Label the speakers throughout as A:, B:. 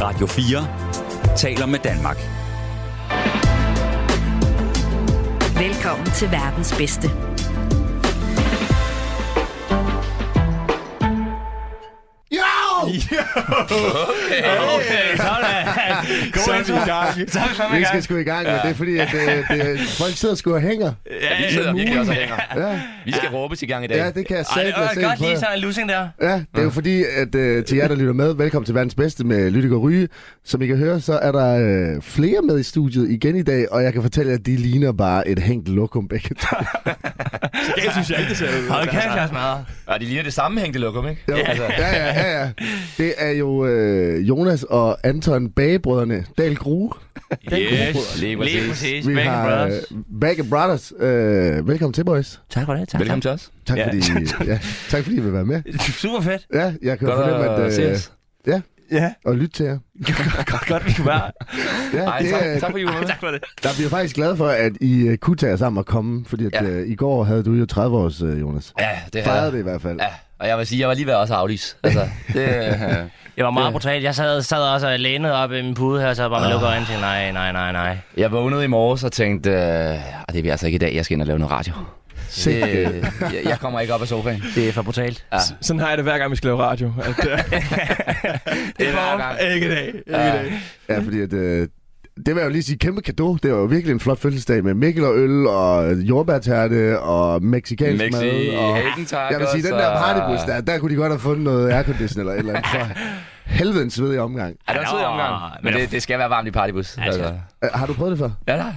A: Radio 4 taler med Danmark.
B: Velkommen til verdens bedste.
C: Okay, sådan.
D: Så er
C: God
D: vi
C: intro.
D: i gang.
C: Så er vi fandme i
D: Vi
C: gang.
D: skal sgu i gang, men det er fordi, at øh, det, det, folk sidder sgu og hænger.
C: Ja,
E: vi sidder virkelig også og hænger.
D: Ja,
E: Vi skal råbes i gang i dag.
D: ja det kan jeg
C: Ej,
D: sætte
C: det var godt lige sådan en lussing der.
D: Ja, det er jo fordi, at øh, til jer, der lytter med, velkommen til verdens bedste med Lydik og Ryge. Som I kan høre, så er der øh, flere med i studiet igen i dag, og jeg kan fortælle jer, at de ligner bare et hængt lokum begge to.
E: det synes jeg ikke, det ser ud.
C: Hold kæft, jeg smadrer.
E: Ja, de ligner det sammenhængte lokum, ikke?
D: Jo, altså, ja, ja, ja, ja. Det er jo øh, Jonas og Anton Bagebrødrene, Dal Grue.
E: Yes, lige
C: Lige
E: præcis.
C: præcis.
D: Vi
C: Bang
D: har
C: Brothers.
D: øh, Bag Brothers. Øh, velkommen til, boys.
C: Tak for det. Tak.
E: Velkommen til os.
D: Tak,
C: Ja.
D: ja. fordi, ja, tak fordi I vil være med.
C: Super fedt.
D: Ja, jeg kan
E: Godt
D: fornemme,
E: at
D: at...
E: se
D: Øh,
E: os.
C: Ja.
D: og lytte til jer.
C: Godt, godt, vi kunne være.
D: Ja,
E: Ej,
D: det,
E: tak,
D: øh,
E: tak for julen.
C: Tak for det.
D: der bliver jeg faktisk glad for, at I øh, kunne tage jer sammen og komme, fordi at,
E: Ja.
D: ja. øh, i går havde du jo 30 års, øh, Jonas.
E: Ja, det
D: Fejrede
E: har
D: det i hvert fald.
E: Ja, og jeg vil sige, jeg var lige ved også at aflyse. Altså, det, øh,
C: Det var meget brutalt. Jeg sad, sad også og lænede op i min pude her, så bare man lukker øjnene til, nej, nej, nej, nej.
E: jeg vågnede i morges og tænkte, øh, "Ah, det bliver altså ikke i dag, jeg skal ind og lave noget radio.
D: Se,
E: Det, øh, jeg, jeg kommer ikke op af sofaen.
C: Det er for brutalt.
F: Sådan har jeg det hver gang, vi skal lave radio. At, uh,
E: Det er hver gang.
F: ikke i dag. Ikke i dag.
D: ja, fordi at, øh, det vil jeg jo lige sige, kæmpe gave. Det var jo virkelig en flot fødselsdag med Mikkel og øl og jordbærterte og mexicansk
E: Mexi,
D: mad. Og,
E: Hagen tak
D: jeg vil sige, den der partybus der, der kunne de godt have fundet noget aircondition eller et eller andet. For helvede en svedig omgang.
E: Ja, det var en sød omgang, men det, det skal være varmt i partybus. Altså.
D: Øh, Har du prøvet det før?
E: Ja, nej.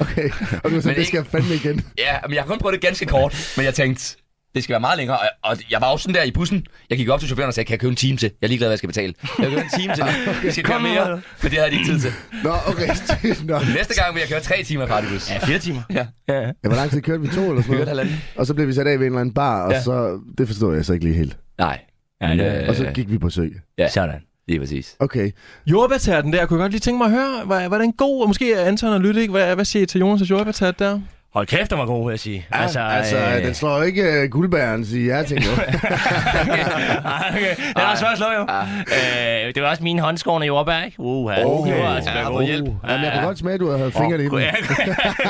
D: Okay, og du så,
E: Men
D: det
E: ikke-
D: skal jeg fandme igen.
E: Ja, men jeg har kun prøvet det ganske kort, men jeg tænkte, det skal være meget længere. Og- Og jeg var også sådan der i bussen. Jeg gik op til chaufføren og sagde, kan jeg købe en time til? Jeg er ligeglad, hvad jeg skal betale. Jeg kan købe en time til. Vi skal køre mere, men det havde de ikke tid til.
D: Nå, okay. Nå.
E: Næste gang vil jeg køre tre timer i partybus. Ja,
C: Fire timer.
E: Ja.
C: ja.
D: Ja, hvor lang tid kørte vi? To eller sådan
E: kørte
D: noget?
E: halvanden.
D: Og så blev vi sat af ved en eller anden bar, og
E: Ja.
D: ja. så... Det forstod jeg så ikke lige helt.
E: Nej. Ja, det,
D: Og så gik vi på sø.
E: ja,
C: Sådan.
E: lige præcis.
D: Okay.
F: Jordbærterten der, kunne jeg godt lige tænke mig at høre, var, var den god? Og måske Anton og Lydik, hvad, hvad siger I til Jonas' jordbærtert der?
C: Hold kæft, den var god, vil jeg sige.
D: Ja, altså, altså øh... den slår jo ikke uh, guldbæren, siger jeg, tænker jeg.
C: Ej, okay. Den er svært at slå, jo. Øh, det var også mine håndskårne jordbær, ikke? Uh, okay. det var altså
E: Ja,
C: ja,
E: hvor
C: god.
E: hjælp.
D: Jamen, jeg kunne godt smage, at du havde fingrene i dem.
C: Ja,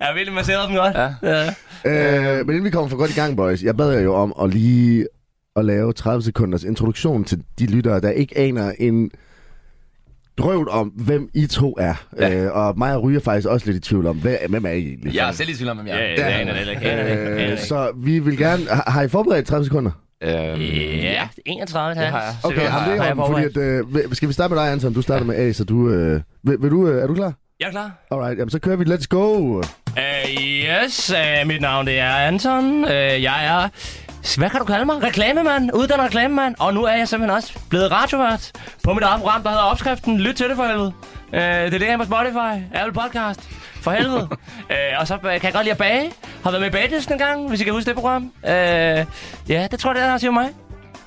C: jeg ville massere dem godt. Ja.
D: Øh, men inden vi kommer for godt i gang, boys, jeg bad jer jo om at lige at lave 30 sekunders introduktion til de lyttere, der ikke aner en drøvl om, hvem I to er. Ja. Øh, og mig og Ryge er faktisk også lidt i tvivl om, hvad, hvem er I egentlig?
E: Jeg er selv i tvivl om, hvem jeg
C: Ja,
E: er.
C: det aner det heller ikke. aner det ikke, aner det
D: Øh,
C: ikke.
D: så vi vil gerne... Har, har I forberedt 30 sekunder?
E: Øhm,
C: Ja, 31
E: Det har jeg.
C: Så
D: Okay,
C: har
D: ham det
C: har
D: er
C: jeg
D: om, fordi at,
C: forberedt.
D: øh, vil- skal vi starte med dig, Anton? Du starter med A, så du... Øh, vil, vil du øh, er du klar?
C: Jeg er klar.
D: Alright, jamen så kører vi. Let's go!
C: Uh, yes, uh, mit navn det er Anton. Uh, jeg er, hvad kan du kalde mig? Reklamemand, uddannet reklamemand. Og nu er jeg simpelthen også blevet radiovært på mit eget program, der hedder Opskriften. Lyt til det for helvede. Uh, det ligger på Spotify, Apple Podcast. For helvede. uh, og så øh, kan jeg godt lide at bage. Har været med i Bagedysten en gang, hvis I kan huske det program. Uh, ja, det tror jeg, det er, der siger mig.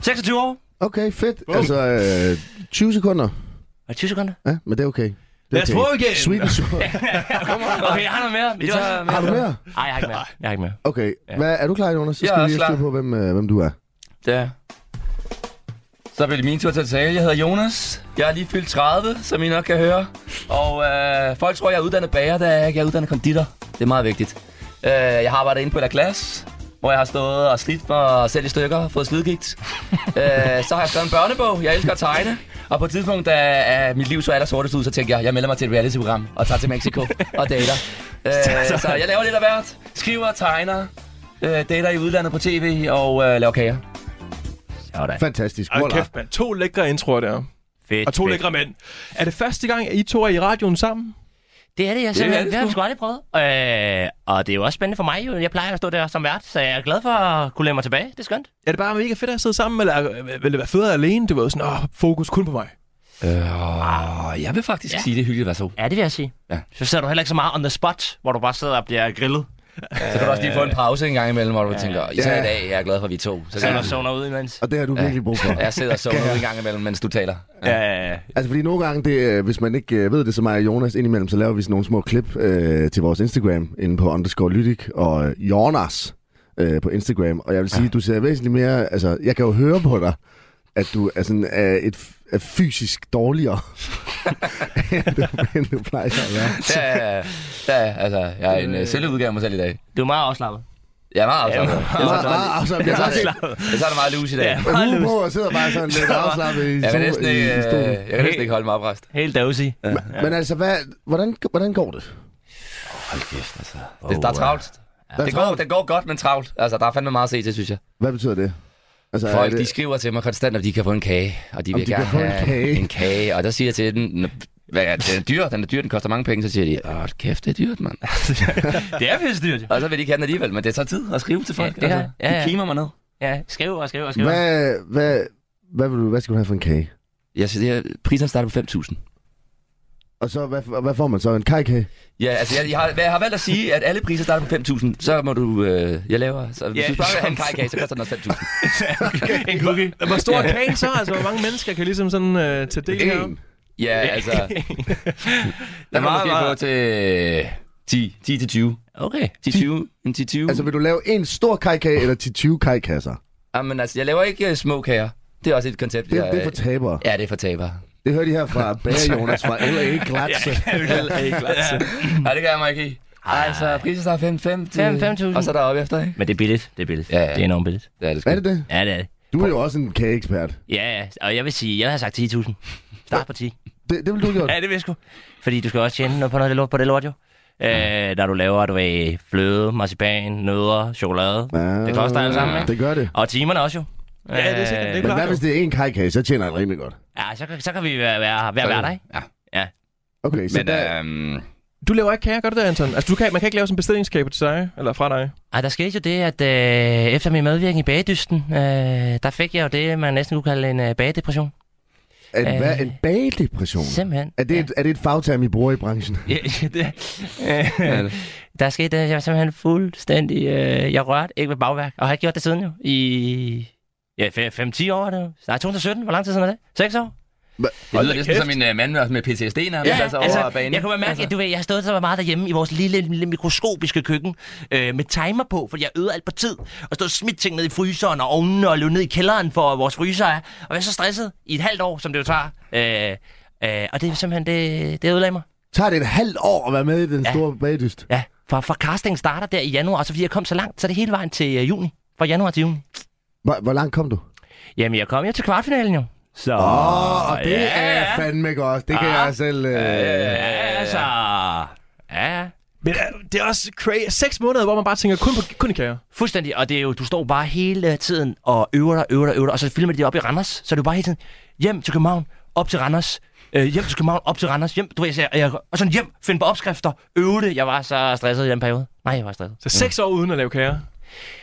C: 26 år
D: Okay, fedt. Altså, øh, 20 sekunder.
C: og 20 sekunder.
D: Ja, men det er okay. Det er
F: Lad os
D: okay.
F: prøve igen.
D: Sweet and sour.
C: Okay, jeg har noget mere. men Det var,
D: Har du mere?
C: Nej, jeg har ikke mere. Jeg har ikke mere.
D: Okay, hvad, er du klar, Jonas? Så
E: Jeg
D: skal
E: er
D: vi
E: også
D: lige have
E: klar.
D: styr på, hvem, øh, hvem du er.
E: Ja. Så bliver det min tur til at tale. Jeg hedder Jonas. Jeg er lige fyldt 30, som I nok kan høre. Og øh, folk tror, jeg er uddannet bager, der er jeg ikke. Jeg er uddannet konditor. Det er meget vigtigt. Øh, jeg har arbejdet inde på et glas, hvor jeg har stået og slidt mig selv i stykker og fået slidgigt. øh, så har jeg skrevet en børnebog. Jeg elsker at tegne. Og på et tidspunkt, da øh, mit liv så allersortest ud, så tænkte jeg, jeg melder mig til et reality-program og tager til Mexico og dater. Øh, så jeg laver lidt af hvert. Skriver, tegner, øh, dater i udlandet på tv og øh, laver kager.
C: Sådan.
D: Fantastisk.
F: Ej,
D: Voilà.
F: kæft, mand. To lækre introer der.
C: Fedt.
F: Og to
C: fedt.
F: lækre mænd. Er det første gang, at I to er i radioen sammen?
C: Det er det, jeg
E: er
C: simpelthen.
E: det
C: Det, har vi sgu aldrig prøvet. Øh, og det er jo også spændende for mig. jo. Jeg plejer at stå der som vært, så jeg er glad for at kunne lægge mig tilbage. Det er skønt.
F: Er det bare mega fedt at sidde sammen, eller øh, vil det være federe alene? Det var jo sådan, åh, fokus kun på mig.
E: Øh, jeg vil faktisk
C: Ja.
E: ja. sige, det er hyggeligt at være så.
C: Ja, det vil jeg sige.
E: Ja.
C: Så sidder du heller ikke så meget on the spot, hvor du bare sidder og bliver grillet.
E: Så kan du også lige få en pause en gang imellem, hvor du ja. tænker, især
D: Ja.
E: i dag, jeg er glad for, at vi er to. Så
C: Så
E: kan
C: du
E: jeg,
C: zoner ud imens.
D: Og det har du virkelig brug for.
E: jeg sidder og sover en gang imellem, mens du taler.
C: Ja.
D: Altså, fordi nogle gange, det, øh, hvis man ikke øh, ved det, så mig og Jonas indimellem, så laver vi sådan nogle små klip øh, til vores Instagram, inde på underscore lytik og øh, Jonas øh, på Instagram. Og jeg vil sige, ja. du ser væsentligt mere... Altså, jeg kan jo høre på dig, at du er, sådan, er, et, er fysisk dårligere, end, du, end du plejer at være.
E: Der, er- der, er- altså, jeg er en øh, selvudgave af mig selv i dag.
C: Du er meget afslappet.
E: Jeg er meget afslappet.
D: Jeg
E: Jeg,
D: meget,
E: tager-
D: meget afslappet. Jeg
E: jeg,
D: har
E: tager det,
D: set
E: jeg tager det meget loose i dag.
C: Ja.
D: en uge på og sidder bare sådan lidt afslappet i,
E: Jeg kan
D: stol-
E: næsten
D: i,
E: ikke,
D: i
E: øh,
D: stolen.
E: jeg kan næsten ikke holde mig oprejst.
C: Helt dowsy. Ja.
D: Men altså, hvad, hvordan, hvordan går det?
E: Det, der er travlt.
D: Der er
E: Det går,
D: travlt.
E: det går godt, men travlt. Altså, der er fandme meget at se til, synes jeg.
D: Hvad betyder det? Altså, er
E: Folk,
D: det-
E: de skriver til mig konstant, om de kan få en kage, og de
D: Om
E: vil
D: de
E: gerne
D: kan få en
E: have
D: kage.
E: en kage. Og der siger jeg til den, "Nå, hvad, er- den er dyr, den er dyr, den koster mange penge. Så siger de, åh, kæft, det er dyrt, mand.
C: Det er pisse dyrt, jo.
E: og så vil de ikke have den alligevel, men det tager tid at skrive til folk.
C: Ja, det er-
E: altså,
C: ja, ja.
E: De kimer mig ned.
C: Ja, skriv og skriv og skriv.
D: Hvad, hvad, hvad, vil du, hvad skal du have for en kage?
E: Jeg siger, det er- priserne starter på 5.000.
D: Og så, hvad, og hvad får man så? En kajkage?
E: Ja, altså, jeg, jeg, har, jeg har valgt at sige, at alle priser starter på 5.000. Så må du, øh, jeg laver, så hvis
C: Ja,
E: du spørger, hvad han
C: sjovt.
E: kage, så koster den også 5.000.
C: En cookie.
F: Hvor stor er kagen så? Altså, hvor mange mennesker kan ligesom sådan øh, tage del her?
D: En.
E: Ja, altså, der
C: er
E: kan man
C: meget,
E: måske få
C: meget-
E: til øh, 10, 10 til 20.
C: Okay.
E: 10, 20, en 10, 20.
D: Altså, vil du lave en stor kajkage eller 10-20 kajkasser?
E: Jamen altså, jeg laver ikke uh, små kager. Det er også et koncept,
D: Det,
E: jeg... øh,
D: det er for tabere.
E: Ja, det er for tabere.
D: Det hører de her fra Bager Jonas fra L.A. Glatse.
E: Nej, det gør jeg mig ikke i. Ej, så priser starter 5, 5 til...
C: Fem- 5.000.
E: Og så deroppe efter, ikke?
C: Men det er billigt, det er billigt.
E: Ja, ja.
C: Det er enormt billigt.
E: Ja, det er sgu.
D: Er det det?
C: Ja, det er det.
D: Du er jo også en kageekspert.
C: Ja, ja. Og jeg vil sige, jeg har sagt 10.000. Start på 10.
D: Det, det vil du have gjort.
C: Ja, det vil jeg sgu. Fordi du skal også tjene noget på noget af det lort, på det lort jo.
F: Mm.
C: Øh, når du laver, du ved, fløde, marcipan, nødder, chokolade.
D: Ja,
C: Det koster alle sammen, ikke?
D: Ah, Det gør det.
C: Og timerne også jo.
F: Ja, det er sikkert,
C: Øh,
F: det er
D: Men hvad
F: klart.
D: hvis
F: jo.
D: det er en kajkage, så tjener han rimelig godt.
C: Ja, så, kan- så kan vi være, være, være hverdag.
E: Ja.
D: Okay, så
E: Men,
C: øh,
D: der,
E: øhm,
F: Du laver ikke kager, gør du det, Anton? Altså, du kan, man kan ikke lave sådan en bestillingskage til dig, eller fra dig.
C: Ej, der skete jo det, at øh, efter min medvirken i Bagedysten, øh, der fik jeg jo det, man næsten kunne kalde en øh, bagedepression.
D: at, hvad,
C: øh,
D: en
F: Uh.
D: bagedepression?
C: Simpelthen.
D: Er det, et, er det et fagterm, I bruger i branchen?
C: Ja, ja, det, øh, der skete det, jeg var simpelthen fuldstændig, øh, jeg rørte ikke ved bagværk, og har ikke gjort det siden jo, i ja, 5-10 år er det jo. Nej, 2017, hvor lang tid siden er det? 6 år?
E: det lyder lidt som en uh, mand med- med PTSD nærmest, altså, over banen.
C: jeg kunne mærke, altså. at du ved, jeg har stået så meget derhjemme i vores lille, lille mikroskopiske køkken øh, med timer på, fordi jeg øvede alt på tid, og stod og smidt ting ned i fryseren og ovnen og løb ned i kælderen for vores fryser er, og var så stresset i et halvt år, som det jo tager. Øh, øh, og det er simpelthen, det, det ødelagde mig.
D: Tager det et halvt år at være med i den
C: Ja.
D: store bagedyst?
C: Ja, for, for casting starter der i januar, og så fordi jeg kom så langt, så er det hele vejen til øh, juni. Fra januar til juni.
D: Hvor, hvor langt kom du?
C: Jamen, jeg kom jo til kvartfinalen jo. Så... Øh,
D: Åh, oh, det
C: ja,
D: er fandme godt. Det kan jeg selv... Øh,
C: Ja, altså... Ja,
F: Men øh, det er også crazy. Seks måneder, hvor man bare tænker kun, på, kun i kager.
C: fuldstændig. Og det er jo, du står bare hele tiden og øver dig, øver dig, øver dig, og så filmer de det op i Randers. Så er det jo bare hele tiden, hjem til København, op til Randers, øh, hjem til København, op til Randers, hjem, du ved, så jeg, jeg, og sådan hjem, finde på opskrifter, øve det. Jeg var så stresset i den periode. Nej, jeg var stresset.
F: Så seks år uden at lave kager.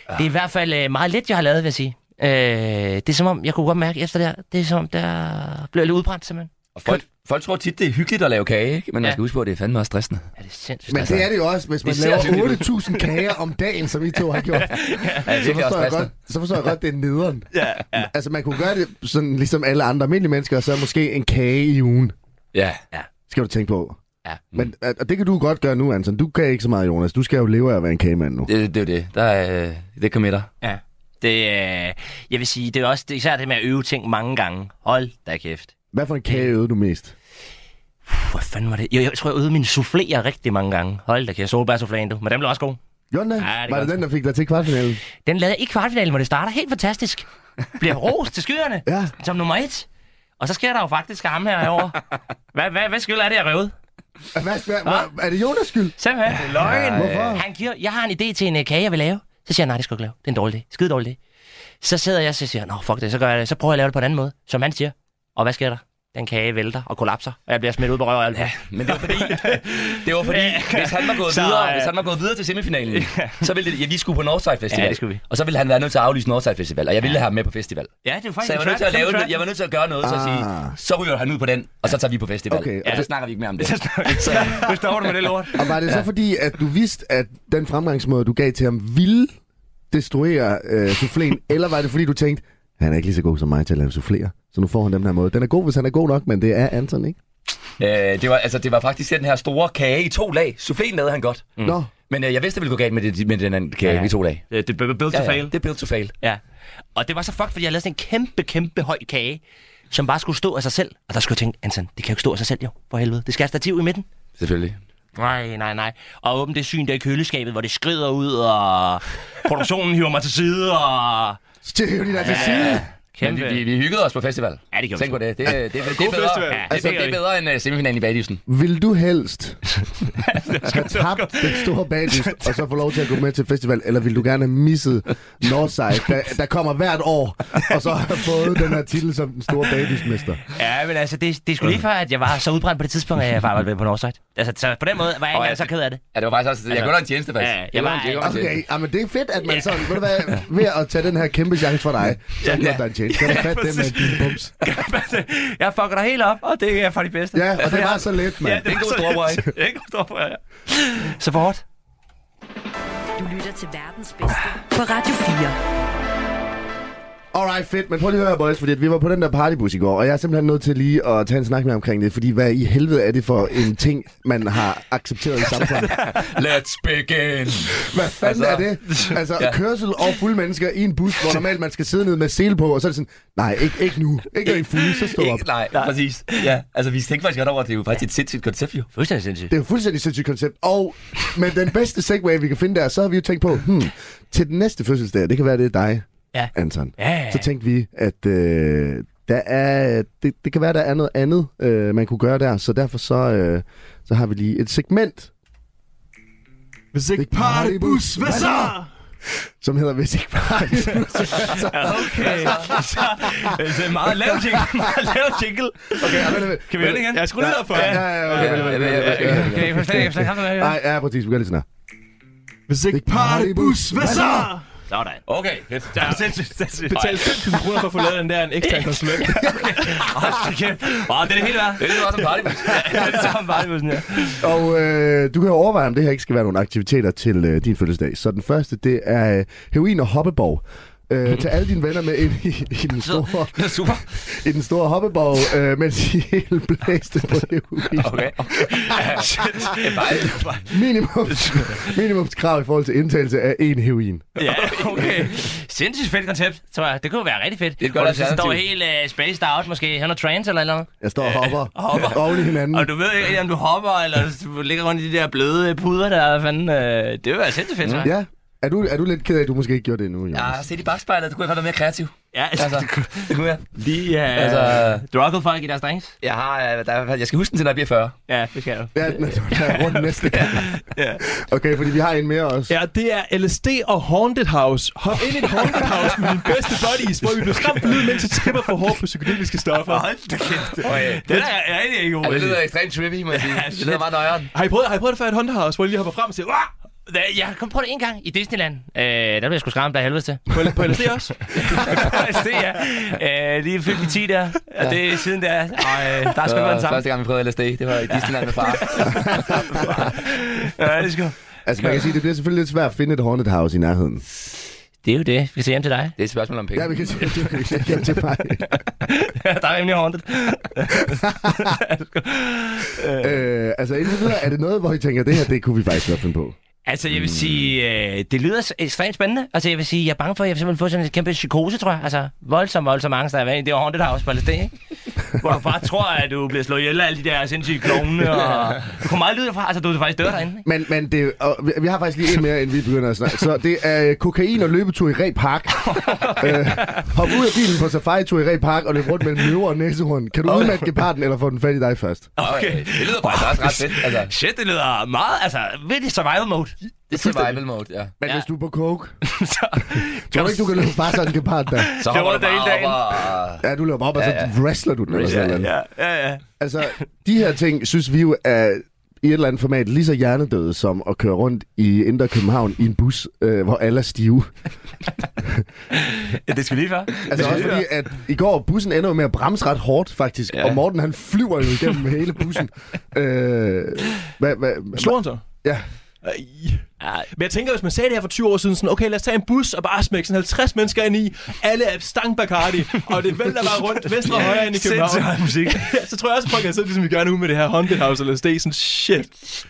C: Det er i hvert fald øh, meget lidt, jeg har lavet, vil jeg sige. Øh, det er som om, jeg kunne godt mærke efter det her, det er som om, der blev jeg lidt udbrændt simpelthen.
E: Og folk, folk tror tit, det er hyggeligt at lave kage, ikke? Men man
C: Ja.
E: skal huske på, at det er fandme også stressende.
C: Ja, det er sindssygt.
D: Men
C: altså.
D: det er det jo også, hvis man
E: Det ser
D: laver
E: hyggeligt ud.
D: 8.000 kager om dagen, som I to har gjort.
E: Ja, det er
D: så, forstår jeg
E: virkelig også stressende.
D: godt, så forstår jeg godt, det er nederen. Ja, ja. Altså, man kunne gøre det sådan, ligesom alle andre almindelige mennesker, og så måske en kage i ugen,
E: Ja.
D: skal du tænke på.
C: Ja.
D: Men, øh, og det kan du godt gøre nu, Anton. Du kan ikke så meget, Jonas. Du skal jo leve af at være en kagemand nu.
E: Det, det er jo det. Der er, øh, det committer.
C: Ja. Det, øh, jeg vil sige, det er også det, er især det med at øve ting mange gange. Hold da kæft.
D: Hvad for en kage øvede du mest?
C: Puh, Hvor fanden var det? Jeg, jeg tror, jeg øvede mine souffléer rigtig mange gange. Hold da kæft, solbærsouffléen du. Men den blev også god.
D: Gjorde den det?
C: Ja, det er
D: Var det
C: godt.
D: den, der fik dig til kvartfinalen?
C: Den lavede jeg i kvartfinalen, hvor det starter helt fantastisk. Bliver rost til skyerne
D: Ja.
C: som nummer et. Og så sker der jo faktisk ham herovre. Hvad, hvad, hvad skyld er det, jeg røvede?
D: Hvad, hvad, hvad, er det Jonas skyld?
C: Simpelthen. Det er løgn.
D: Hvorfor?
C: Han giver, jeg har en idé til en øh, kage, jeg vil lave. Så siger han, nej, det skal du ikke lave. Det er en dårlig idé. Skide dårlig idé. Så sidder jeg og siger, nå, fuck det, så gør jeg det. Så prøver jeg at lave det på en anden måde, som han siger. Og hvad sker der? Den kage vælter og kollapser, og jeg bliver smidt ud på røv og alt. Ja,
E: Men det var fordi, det var fordi hvis, han var gået
C: Så,
E: videre,
C: øh,
E: hvis han var gået videre til semifinalen, så ville det, ja, vi skulle på Northside Festival.
C: Ja, det skulle vi.
E: Og så ville han være nødt til at aflyse Northside Festival, og jeg ville have ham med på festival.
C: ja det er faktisk
E: Så jeg var nødt til at lave noget, jeg var nødt til at gøre noget, så at
D: Ah.
E: sige, så ryger han ud på den, og så tager vi på festival.
D: Okay, og
E: og så
D: det-
E: snakker vi ikke mere om det.
C: Så nu stopper du med det lort.
D: Og var det så fordi, at du vidste, at den fremgangsmåde, du gav til ham, ville destruere øh, souffléen? eller var det fordi, du tænkte, han er ikke lige så god som mig til at lave souffléer, så nu får han den her måde. Den er god, hvis han er god nok, men det er Anton, ikke?
E: Øh, det, var, altså, det var faktisk den her store kage i to lag. Souffléen lavede han godt.
D: Mm. Nå,
E: Men øh, jeg vidste, det ville gå galt med, det, med den anden kage,
C: Ja.
E: vi to lag.
C: Øh, Det blev built to fail.
E: Det er built to fail.
C: Ja. Og det var så fucked, fordi jeg lavede sådan en kæmpe, kæmpe høj kage, som bare skulle stå af sig selv. Og der skulle jeg tænke, Anton, det kan jo ikke stå af sig selv jo, for helvede. Det skal have stativ i midten.
E: Selvfølgelig.
C: Nej, nej, nej. Og åbne det syn der i køleskabet, hvor det skrider ud, og produktionen hiver mig til side, og...
D: Så tjekker de der til side.
E: Men vi, vi, vi hyggede os på festival.
C: Ja, det gjorde vi
E: Tænk
C: sgu.
E: på det. Det, det, det, det, det, er bedre, ja,
F: festival.
E: det,
C: Altså,
E: det, det er bedre end uh, semifinalen i Bagdysen.
D: Vil du helst have tabt den store bagdyst, og så få lov til at gå med til festival, eller vil du gerne have misset Northside, der, der kommer hvert år, og så har fået den her titel som den store bagdystmester?
C: Ja, men altså, det, det er sgu lige før, at jeg var så udbrændt på det tidspunkt, at jeg bare var ved på Northside. Altså, så på den måde var jeg ikke engang så ked af det.
E: Ja, det var faktisk også... Jeg gjorde dig en tjeneste, faktisk.
C: Ja, jeg
E: gjorde
C: var-
E: dig en- jeg gjorde dig en
D: Okay,
E: tjeneste.
D: ja, men Altså, det er fedt, at man sådan, ved du hvad, ved at tage den her kæmpe chance for dig, så har ja. der en chance. Kan du fatte det med dine bums?
C: jeg fucker dig helt op, og det er for de bedste. Altså,
D: Ja, og det var så let, mand.
E: Det er en god stråbrød, ikke?
C: Det er ikke stor ja. Så for hårdt.
B: Du lytter til verdens bedste på Radio 4.
D: Alright, fedt. Men prøv lige at høre, boys, fordi at vi var på den der partybus i går, og jeg er simpelthen nødt til lige at tage en snak med jer omkring det, fordi hvad i helvede er det for en ting, man har accepteret i samfundet?
E: Let's begin.
D: Hvad fanden altså, er det? Altså, ja. kørsel og fulde mennesker i en bus, hvor normalt man skal sidde ned med sele på, og så er det sådan, nej, ikke, ikke nu. Ikke når I er fulde, så stå op.
E: Ikke, nej, nej, præcis. Ja, altså vi tænkte faktisk godt over, at det er jo faktisk et sindssygt koncept, jo.
C: Fuldstændig sindssygt.
D: Det er jo fuldstændig sindssygt koncept. Og men den bedste segway, vi kan finde der, så har vi jo tænkt på, hmm, til den næste fødselsdag, det kan være, det er dig,
C: Ja.
D: Anton.
C: Ja, ja, ja.
D: Så tænkte vi, at øh, der er, det, det kan være, der er noget andet, øh, man kunne gøre der. Så derfor så, øh, så har vi lige et segment,
F: Hvis ikke
D: partybus, hvad så? som hedder Hvis ikke partybus.
C: Okay. det er meget lav jingle. Meget lav jingle.
D: Okay, ja, vent, vent.
C: Kan vi høre det igen? Jeg skulle ned for.
D: Ja, ja, ja, okay, vent, vent, vent, vent, vent, vent.
C: Kan I forstå, jeg forstår det her?
D: Nej, ja, præcis. Vi gør lige sådan her.
F: Hvis ikke partybus, hvad så?
C: Sådan.
E: Okay, fedt.
C: Det er sindssygt, sindssygt.
F: Betal 5.000 kroner for at få lavet den der en ekstra konsulent.
C: Wow, det er det helt værd.
E: Det er lidt også en partybus.
C: Ja, det er samme bare, det var sådan her.
D: Og øh, du kan jo overveje, om det her ikke skal være nogle aktiviteter til øh, din fødselsdag. Så den første, det er øh, heroin og hoppeborg. Øh, tag alle dine venner med ind i, i, den, store,
E: Det er super.
D: i den store hoppeborg, øh, mens de er helt blæste på heroin.
E: Okay. Det er bare-
D: Minimums, minimumskrav i forhold til indtagelse af en heroin.
C: Ja, okay. Sindssygt fedt koncept, tror jeg. Det kunne være rigtig fedt. Det
E: er et godt
C: Hvor du sådan
E: alternativ.
C: står helt uh, spaced out, måske. Han er trans eller et eller andet.
D: Jeg står og hopper, hopper. oven i hinanden.
C: Og du ved ikke, rigtig, om du hopper, eller du ligger rundt i de der bløde puder der. Hvad fanden, øh, det ville være sindssygt fedt, tror jeg.
D: Ja. Er du, er du lidt ked af, at du måske ikke gjorde det endnu, Jonas?
E: Ja, se i bagspejlet. Du kunne jeg godt være mere kreativ.
C: Ja,
E: Altså,
C: altså,
E: det kunne jeg.
C: lige uh, altså,
E: Altså,
C: drukket folk i deres drinks.
E: jeg, har, øh, der, er- jeg skal huske den til, når jeg bliver 40.
C: Ja, det skal du.
D: Ja, den er, den er rundt næste gang.
C: Ja.
D: Okay, fordi vi har en mere også.
F: Ja, det er LSD og Haunted House. Hop ind i et Haunted House med mine bedste buddies, hvor vi bliver skræmt for lyden, mens jeg tripper for hårdt på psykedeliske stoffer.
C: Hold da kæft.
E: Okay.
C: Den er jeg rigtig ikke
E: Ja,
C: god.
E: det
C: i.
E: lyder ekstremt trippy, må jeg sige. Det lyder meget nøjeren.
F: Har I prøvet, har I prøvet det før i et Haunted House, hvor I lige hopper frem og siger, Wah!
C: Da- Jeg kom prøve det en gang i Disneyland. Øh, der blev jeg sgu skræmt af helvede til.
F: På, på LSD også?
C: det er øh, lige fyldt i 10 der. Og det er siden der. Og øh, der er sgu været
E: Det var
C: en sammen.
E: første gang, vi prøvede LSD. Det var i Disneyland med far.
C: Ja, det, skal.
D: Altså, man kan sige, det bliver selvfølgelig lidt svært at finde et haunted house i nærheden.
C: det er jo det. Vi skal se hjem til dig.
E: Det er et spørgsmål om penge.
D: Ja, vi kan sige, det er hjem til mig.
C: der er rimelig håndet.
D: øh, altså, indtil videre, er det noget, hvor I tænker, det her, det kunne vi faktisk godt finde på?
C: Altså, jeg vil sige, øh, det lyder s- ekstremt spændende. Altså, jeg vil sige, jeg er bange for, at jeg simpelthen får sådan en kæmpe psykose, tror jeg. Altså, voldsom, voldsom angst, der er i det er Haunted House Palace, ikke? Hvor du bare tror, at du bliver slået ihjel af alle de der sindssyge klovne, og du kommer aldrig ud derfra. Altså, du er faktisk dør derinde. ikke?
D: Men, men det, og vi, vi har faktisk lige en mere, inden vi begynder at snakke. Så det er øh, kokain og løbetur i Ræ Park. øh, hop ud af bilen på safari-tur i Ræ Park og løb rundt mellem løver og næsehorn. Kan du udmatte geparden, eller får den fat i dig først?
E: Okay. Det lyder faktisk også ret fedt. Altså,
C: Shit, det lyder meget, altså, virkelig survival mode.
E: det er survival mode, ja.
D: Men
C: Ja.
D: ja. hvis du er på coke,
C: Så,
D: tror du ikke, du kan løbe bare sådan en gepard der?
E: Så hopper
C: var
E: du
C: det hele
E: bare
C: dagen.
E: op og...
D: Ja, du løber op, og så
E: Ja, ja.
D: wrestler du den. Eller sådan noget.
C: ja, ja, ja.
D: Altså, de her ting, synes vi jo er i et eller andet format lige så hjernedøde som at køre rundt i Indre København i en bus, øh, hvor alle er stive.
C: ja det skal lige være.
D: Altså også fordi, at i går, bussen ender jo med at bremse ret hårdt, faktisk. Ja. Og Morten, han flyver jo igennem hele bussen. Øh, hvad, hvad,
F: Slår han så?
D: ja.
F: Ej. Men jeg tænker, hvis man sagde det her for 20 år siden, sådan, okay, lad os tage en bus og bare smække sådan 50 mennesker ind i, alle er stank Bacardi, og det vælter bare rundt venstre og højre ind i København.
G: Sindssygt musik.
F: så tror jeg også, at folk har siddet, ligesom vi gør nu med det her Haunted House eller LSD, sådan shit.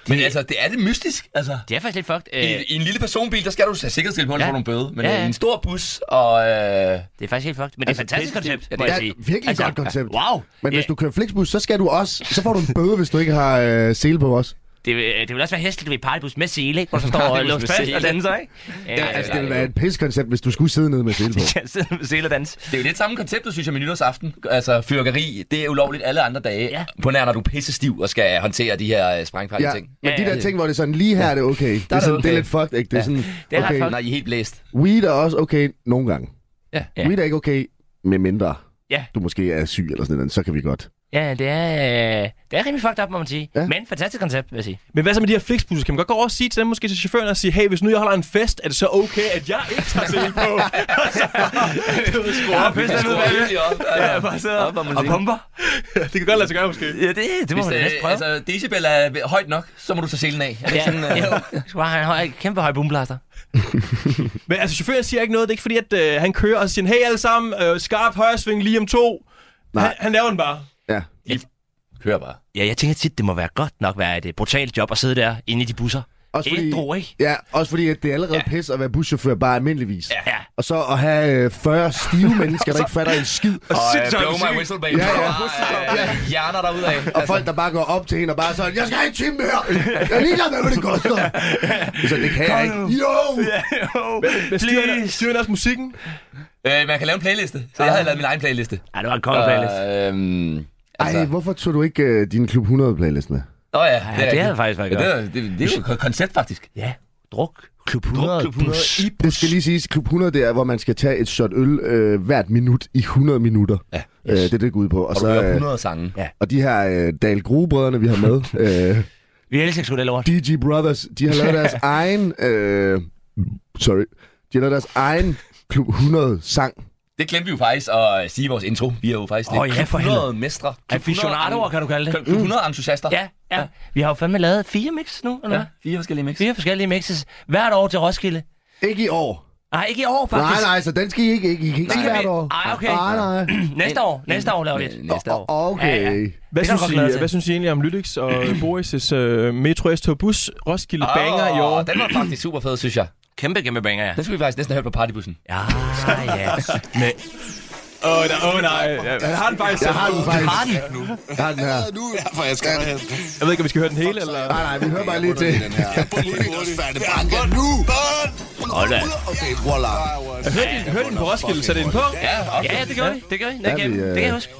E: Men altså, det er det mystisk. Altså,
C: Det er faktisk lidt fucked. Øh,
E: i, I en lille personbil, der skal du have sikkerhedsskilt på, ja.
C: Ja.
E: få nogle bøde. Men
C: Ja,
E: ja,
C: ja.
E: i en stor bus, og... Øh,
C: det er faktisk helt fucked. Men det er et fantastisk koncept,
E: det-
C: må
E: ja,
C: jeg
D: det er
C: sige. Altså,
D: virkelig et godt koncept.
C: Wow.
D: Men
C: Ja,
D: hvis du kører Flixbus, så skal du også... Så får du en bøde, hvis du ikke har øh, sele på os.
C: Det, vil- øh, det vil også være hæsligt ved partybus med sele, ikke? Hvor du står og
E: Partybus
C: låser
E: med
C: fast og
E: sele.
C: danser, ikke?
D: Ja, altså, det ville være et piskoncept, hvis du skulle sidde nede med sele på.
C: Jeg sidder med sele og danser.
E: Det er jo lidt samme koncept, du synes jeg med nytårsaften. Altså, fyrkeri, det er ulovligt alle andre dage. Ja.
C: Ja.
E: På nær, når du er pissestiv og skal håndtere de her øh, sprængfarlige
D: Ja,
E: ja. ting.
D: men
C: Ja,
D: de
C: ja,
D: der
C: det-
D: ting, hvor det er sådan, lige her er det okay. Det er, sådan,
E: det
D: det er
E: okay.
D: lidt fucked, ikke? Det er sådan,
C: Det er ret
D: okay,
C: fucked.
E: Når I er helt blæst.
D: weed er også okay nogle gange.
E: Ja.
C: Ja.
D: Weed er ikke okay, med mindre
C: Ja.
D: du måske er syg eller sådan noget, så kan vi godt.
C: Ja, det er, øh, det er rimelig fucked up, må man sige.
D: Ja.
C: Ja. Men fantastisk koncept, vil jeg sige.
F: Men hvad så med de her flixbusser? Kan man godt gå over og sige til dem, måske til chaufføren, og sige, hey, hvis nu jeg holder en fest, er det så okay, at jeg ikke tager sele på? Og så bare- det er sgu op.
E: Hvis der
F: Skruer helt
E: er op,
F: Ja, bare sidder
E: Op, om man
F: og
E: siger.
F: pumper. det kan godt lade sig gøre, måske.
C: Ja, det, det må man
E: Hvis
C: da næsten
E: det,
C: prøve. Altså,
E: altså, decibel er ved- højt nok, så må du tage selen af. Er det
C: ja,
E: ikke sådan, øh,
C: ja. Du skal bare have en høj, kæmpe høj boomblaster.
F: Men altså, chaufføren siger ikke noget. Det er ikke fordi, at øh, han kører og siger, hey alle sammen, øh, skarp højresving lige om to.
D: Nej.
F: Han, han laver den bare.
D: Ja.
E: Kør bare.
C: Ja, jeg tænker tit, det må være godt nok være et uh, brutalt job at sidde der inde i de busser.
D: Også fordi,
C: Ædru, ikke?
D: ja, også fordi at det er allerede ja. pis at være buschauffør bare almindeligvis.
C: Ja. ja.
D: Og så at have øh, 40 stive mennesker, der ikke fatter en skid.
E: Og øh,
F: sindssygt
E: blow my
F: musik.
E: whistle, baby.
D: Ja, ja.
E: Bare, øh, Hjerner derudad.
D: Og folk, der bare går op til hende og bare sådan, jeg skal have en time mere. Jeg er ligeglad med, hvad det koster. Så det kan jeg ikke. Jo!
F: Men styrer han- styrer han også musikken?
E: Øh, man kan lave en playliste. Så jeg havde lavet min egen playliste.
C: Ej, det var en kold playlist.
E: Øh, øhm, altså,
D: Ej, hvorfor tog du ikke øh, din Klub 100-playlist med?
E: Nå ja,
C: Ja, det, det havde
E: rigtigt.
C: faktisk været
E: Ja, det,
C: godt.
E: er- det, det, er jo et koncept, faktisk.
C: Ja, druk. Klub 100. Druk, klub 100. Bus.
D: Det skal lige siges, Klub 100, det er, hvor man skal tage et shot øl øh, hvert minut i 100 minutter.
E: Ja.
D: Øh, det er det, det går ud på. Og,
E: Og du
D: så,
E: hører
D: øh,
E: 100 sange.
D: og de her øh, Dal Grue-brødrene, vi har med, øh,
C: Vi elsker sgu det lort.
D: DG Brothers, de har lavet deres egen... Øh, sorry. De har lavet deres egen Klub 100-sang.
E: Det glemte vi jo faktisk at øh, sige i vores intro. Vi er jo faktisk
C: Åh,
E: lidt
C: ja, for
E: 100 mestre.
C: Aficionadoer, kan du kalde det.
E: 100 entusiaster.
C: Mm. Ja, ja. Vi har jo fandme lavet fire mix nu, eller hvad?
E: Fire forskellige mix.
C: Fire forskellige mixes hvert år til Roskilde.
D: Ikke i år.
C: Nej, ikke i år,
D: Nej,
C: faktisk.
D: nej, så den skal I ikke. I kan ikke
C: Den
D: sige
C: kan vi-
D: hvert år.
C: Ej, okay.
D: Nej, nej.
C: Næste år. Næste år laver vi det.
E: Næste år.
D: O- Okay. Ja,
C: Ja,
F: Hvad
C: Det kan
F: synes,
C: du godt glæde
F: I, øh,
C: til.
F: hvad synes I egentlig om Lytix og Boris' øh, Metro S-tog Bus Roskilde Banger i år?
E: Åh, Den var faktisk super fed, synes jeg.
C: Kæmpe, kæmpe banger, ja.
E: Den skulle vi faktisk næsten have hørt på partybussen.
C: Ja, ja. Men,
F: Åh oh, nej, oh, nej. Han har den faktisk.
D: Jeg har den faktisk.
C: har den.
D: Jeg har den her.
H: Derfor jeg skal have
F: Jeg ved ikke, om vi skal høre den hele, eller...
D: Nej, nej, vi hører bare lige til.
H: den her. Politikers banker nu. Okay, voilà.
F: Hørte I- Hørte I den på Roskilde? Sæt den på?
E: Ja, okay.
C: Ja, det gør vi. Det gør vi.
D: Er
C: Det,
D: vi, øh,
C: det kan jeg huske.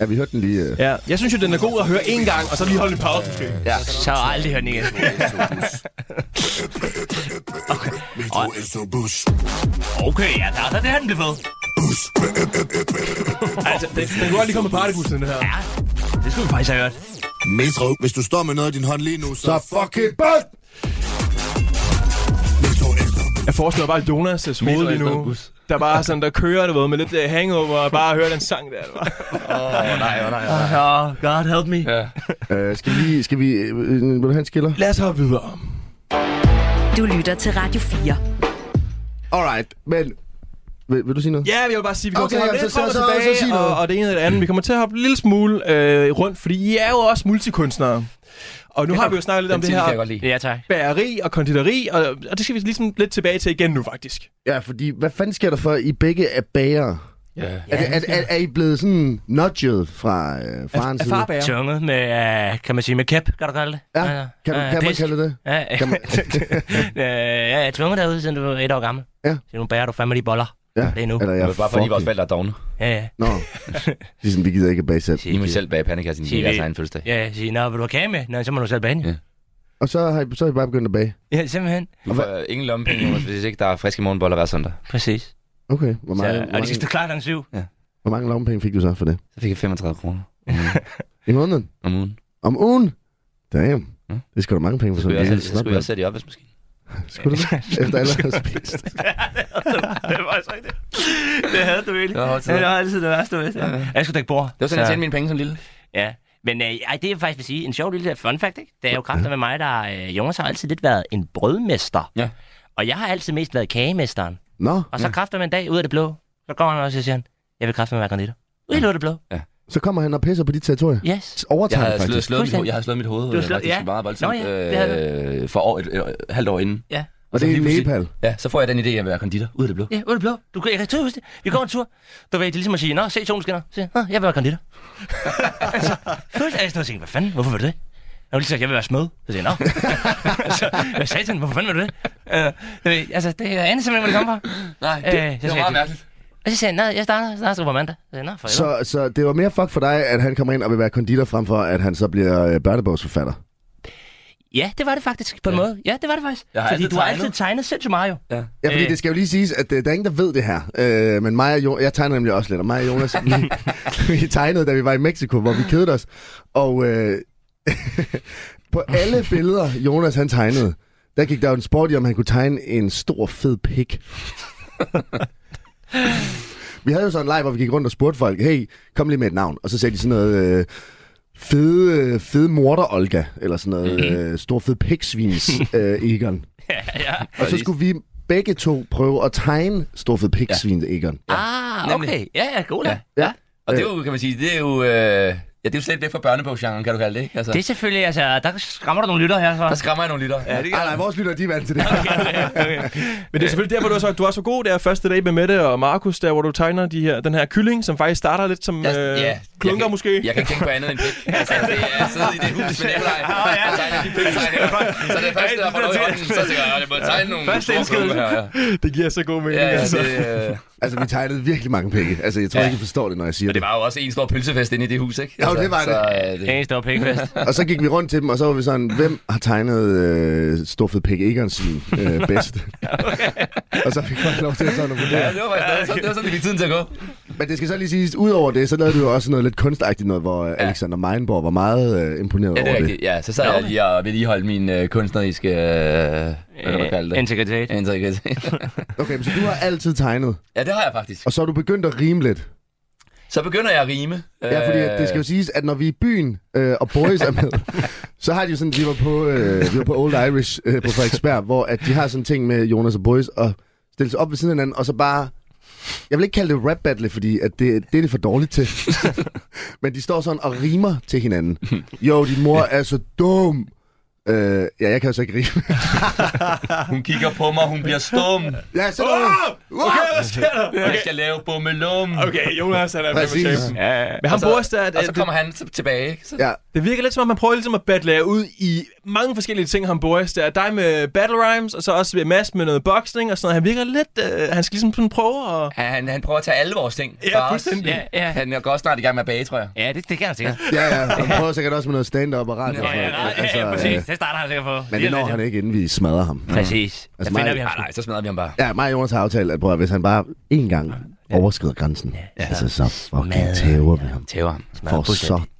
D: Ja, vi hørte den lige. øh.
F: Ja, jeg synes jo, den er god at høre én gang, og så lige holde en pause, måske.
C: Så har jeg aldrig hørt den igen.
H: Metro Øster Bus.
C: Okay, ja, der, der, det er den blev fed.
F: Altså, den, den kunne godt lige komme på partybussen, den her.
C: Det skulle vi faktisk have hørt.
H: Metro, hvis du står med noget i din hånd lige nu, så
D: Så fucking bød!
H: Metro Øster Bus.
F: Jeg foreslår bare Jonas' hoved lige
E: Metro S-tog
F: nu.
E: Bus.
F: Der bare sådan, der kører, du ved, med lidt øh, hangover, og bare hører den sang der. eller hvad?
E: Åh, nej, åh, nej.
C: Oh, God help me.
E: Ja.
D: Øh, skal vi... Skal vi... øh, øh, Vil du have en skiller?
F: Lad os hoppe videre.
B: Du lytter til Radio 4.
D: Alright, men... Vil, vil du sige noget?
F: Ja, jeg vil bare sige, vi kommer
D: Okay,
F: til at hoppe
D: jamen,
F: lidt
D: så-
F: frem og
D: så- så- så sig
F: tilbage,
D: noget.
F: og, og det ene og det andet. Vi kommer til at hoppe en lille smule øh, rundt, fordi I er jo også multikunstnere. Og nu har vi jo snakket lidt om
E: Den
F: det
E: titel kan jeg
F: her
E: godt lide.
C: Ja, tak.
F: bageri og konditori, og, og det skal vi ligesom lidt tilbage til igen nu, faktisk.
D: Ja, fordi hvad fanden sker der for, at I begge er bagere?
E: Ja.
D: Er, det- er, er, er I blevet sådan nudget fra, øh, fra hans
F: Er
D: side?
F: farbager.
C: Tunget med, øh, kan man sige, med kæp, kan du kalde det?
D: Ja, kan, du,
C: ja,
D: kan man
C: pisk.
D: kalde det det?
C: Ja, ja.
D: Kan man,
C: Øh, ja, jeg er tvunget derude, siden du var et år gammel.
D: Ja.
C: Så nu bærer du fandme de boller.
D: ja.
C: Det er nu.
D: Eller,
E: Det
D: ja,
E: var bare fordi vores forældre er dogne.
C: Ja, ja.
D: Nå. Det er sådan, vi gider ikke at bagsætte.
E: I må selv bage pandekassen i
C: Sige
E: jeres
C: det.
E: egen fødselsdag.
C: Ja, jeg siger, nå, vil du have kage med? Nå, så må du selv bage den.
E: Ja.
C: Ja.
D: Og så har, I, så har I bare begyndt at bage.
C: ja, simpelthen.
E: Du får øh, ingen lommepenge, Jonas, hvis ikke der er friske morgenboller hver søndag.
C: Præcis.
D: Okay, hvor
C: Så,
D: mange, hvor
C: og de skal stå
D: mange,
C: klar klokken syv.
D: hvor mange lommepenge fik du så for det?
E: Så fik jeg 35 kroner
D: I måneden?
E: om ugen.
D: Om ugen? Damn.
E: Ja.
D: Det er sgu da mange penge for
E: Så skulle
D: sådan
E: jeg også,
D: en
E: så skulle jeg også sætte i opvaskemaskinen.
D: Skulle du det? Efter alle har spist.
C: det var faktisk rigtigt. Det havde du egentlig.
E: Det var hårdt tider.
C: altid det værste, hvis jeg. Jeg skulle dække bord.
E: Det var sådan, jeg tjente mine penge som lille.
C: Ja. Men øh, ej, det er faktisk vil sige en sjov lille fun fact, ikke? Det er jo kræfter med mig, der... Øh, Jonas har altid lidt været en brødmester.
E: Ja.
C: Og jeg har altid mest været kagemesteren.
D: Nå,
C: Og så ja. kræfter man en dag ud af det blå. Så går han også og siger, han, jeg vil kræfte med være konditor. Ud af det blå.
D: så kommer han og pisser på dit territorie.
C: Yes.
E: Jeg
D: Overtager
E: har
D: det
E: slået,
D: faktisk.
E: slået, mit,
C: Fuldstændig.
E: hoved- jeg har slået mit hoved. øh,
C: Du har slået-
E: faktisk
C: ja.
E: Meget voldsomt.
C: Nå ja, det havde
E: øh, for år, et, et, et, halvt år inden.
C: Ja.
D: Og det er i
E: lige pludselig-
D: Nepal.
E: Ja, så får jeg den idé, at jeg vil være konditor. Ud af det blå.
C: Ja, ud af det blå. Du, kan- jeg kan tydeligt huske det. Vi går en tur. Du ved, det er ligesom at sige, nå, se solen skinner. Så siger jeg, "Nå, jeg vil være konditor. altså, først er jeg sådan og tænker, hvad fanden, hvorfor vil du det? Jeg vil lige sagt, jeg vil være smed. Så siger jeg, nå. altså, hvad satan, hvorfor fanden vil du det? Øh, du ved, altså, det er andet simpelthen, hvor det kommer fra.
E: Nej,
C: Øh, jeg
E: det, det var
C: skal-
E: meget mærkeligt.
C: Og så siger jeg, nej, jeg starter, starter sgu på mandag. Så siger jeg, nå, for så...
D: Så, så det var mere fuck for dig, at han kommer ind og vil være konditor, frem for at han så bliver øh, børnebogsforfatter.
C: Ja, det var det faktisk, på en måde. Ja, det var det faktisk.
E: Jeg har
C: Fordi
E: altid
C: du har
E: tegnet.
C: altid tegnet sindssygt meget, jo.
E: Ja.
D: Ja, fordi
C: Øh.
D: øh. det skal jo lige siges, at øh, der er ingen, der ved det her. Øh, men mig og jo- jeg tegner nemlig også lidt, og mig og Jonas, vi, vi tegnede, da vi var i Mexico, hvor vi kedede os. Og øh, på alle billeder, Jonas han tegnede, der gik der jo en sport i, om han kunne tegne en stor, fed pik. vi havde jo sådan en leg, hvor vi gik rundt og spurgte folk, hey, kom lige med et navn. Og så sagde de sådan noget... Øh, Fede, øh, fede morter Olga, eller sådan noget øh, stor fed piksvins øh, Egon.
C: ja.
D: Og så skulle vi begge to prøve at tegne Storfed Piksvin, Egon.
C: Ah,
E: Nemlig.
C: okay. Ja, ja, god ja.
D: Ja.
E: Og det er jo, kan man sige, det er jo... Øh, ja, det er jo slet væk fra børnebogsgenren, kan du kalde det, ikke? Altså,
C: Det er selvfølgelig, altså, der skræmmer du nogle lytter her, så.
E: Der skræmmer jeg nogle lytter. Ja, det
D: Ej, nej, Ah, vores lytter, de er vant til det.
F: Men det er selvfølgelig derfor, du er så, du er så god der første dag med Mette og Markus, der hvor du tegner de her, den her kylling, som faktisk starter lidt som
E: Jeg-
F: øh,
E: ja, jeg
F: klunker
E: kan-
F: måske.
E: Jeg kan ikke tænke på andet end pik. Altså, det er siddet i det hus med Nikolaj. og tegner de piktegninger. Så det første, der får noget i hånden, så tænker jeg, at jeg må tegne nogle
F: Første
E: store
F: indskydelse.
E: klumper her,
F: Det giver så god mening.
E: Ja, ja, ja
F: altså.
E: det, øh,
D: altså, vi tegnede virkelig mange penge. Altså, jeg tror
E: Ja.
D: ikke, I forstår det, når jeg siger
E: og det
D: det.
E: var jo også en stor pølsefest inde i det hus, ikke?
D: Jo, det var det.
E: Så, øh, det.
C: En stor pikfest.
D: Og så gik vi rundt til dem, og så var vi sådan, hvem har tegnet øh, Storfed Pik Egon sin øh, bedst? og så fik folk lov til at sådan at
E: Ja,
D: vurdere.
E: det var faktisk sådan, det var sådan, det fik tiden til at gå.
D: Men det skal så lige siges, udover det, så lavede du jo også noget lidt kunstagtigt noget, hvor øh, Alexander Meinborg var meget øh, imponeret
E: Ja, det
D: over
E: er
D: det.
E: rigtigt. Ja, så sad jeg lige og vedligeholdt min øh, kunstneriske... Øh, hvad kan man kalde det?
C: Integritet.
E: Integritet.
D: Okay, men så du har altid tegnet,
E: Ja, det har jeg faktisk.
D: og så er du begyndt at rime lidt.
E: Så begynder jeg at rime. Øh,
D: Ja, fordi at det
C: Øh.
D: skal jo siges, at når vi er i byen, øh, og Boris er med, så har de jo sådan, vi var på, øh, vi var på Old Irish øh, på Frederiksberg, hvor at de har sådan en ting med Jonas og Boris, og stille sig op ved siden af hinanden, og så bare... Jeg vil ikke kalde det rap battle, fordi at det, det er det for dårligt til. Men de står sådan og rimer til hinanden. Jo, din mor er så dum. Øh, ja, jeg kan jo så ikke rime.
E: Hun kigger på mig, hun bliver stum.
D: ja, så oh!
F: Okay, hvad sker der?
E: Jeg skal lave bummelum.
F: Okay, Jonas, han er med på
D: Præcis.
F: shapen.
C: Ja, ja.
F: Men han
E: så-
F: bruger stadig,
E: Og så
F: at,
E: kommer han t- tilbage, ikke? Så,
D: Ja,
F: Det virker lidt som om, man prøver ligesom at battle jer ud i mange forskellige ting, han Boris. Der er dig med battle rhymes, og så også Mads med noget boxing og sådan noget. Han virker lidt... Øh, han skal ligesom sådan prøve at...
E: han, han prøver at tage alle vores ting.
F: Ja,
E: fra os.
F: fuldstændig.
C: Ja, ja.
E: Han går også snart i gang med at bage, tror jeg.
C: Ja, det, det kan han sikkert.
D: ja, ja. Han prøver sikkert også med noget stand-up og radio.
E: Nå,
D: og
C: Ja,
D: sådan
C: ja,
D: noget.
C: nej, ja,
D: Altså,
C: ja,
D: øh,
C: præcis. Det starter han sikkert på.
D: Men det når han ikke, inden vi smadrer ham.
C: Præcis. Der
D: Altså,
C: finder
D: mig-
C: vi
E: Nej,
C: ham.
E: nej, så smadrer vi ham bare.
D: Ja, mig og Jonas har aftalt, at prøv at, hvis han bare en gang overskrider grænsen, ja. altså så fucking tæver vi ham.
E: Tæver ham.
D: For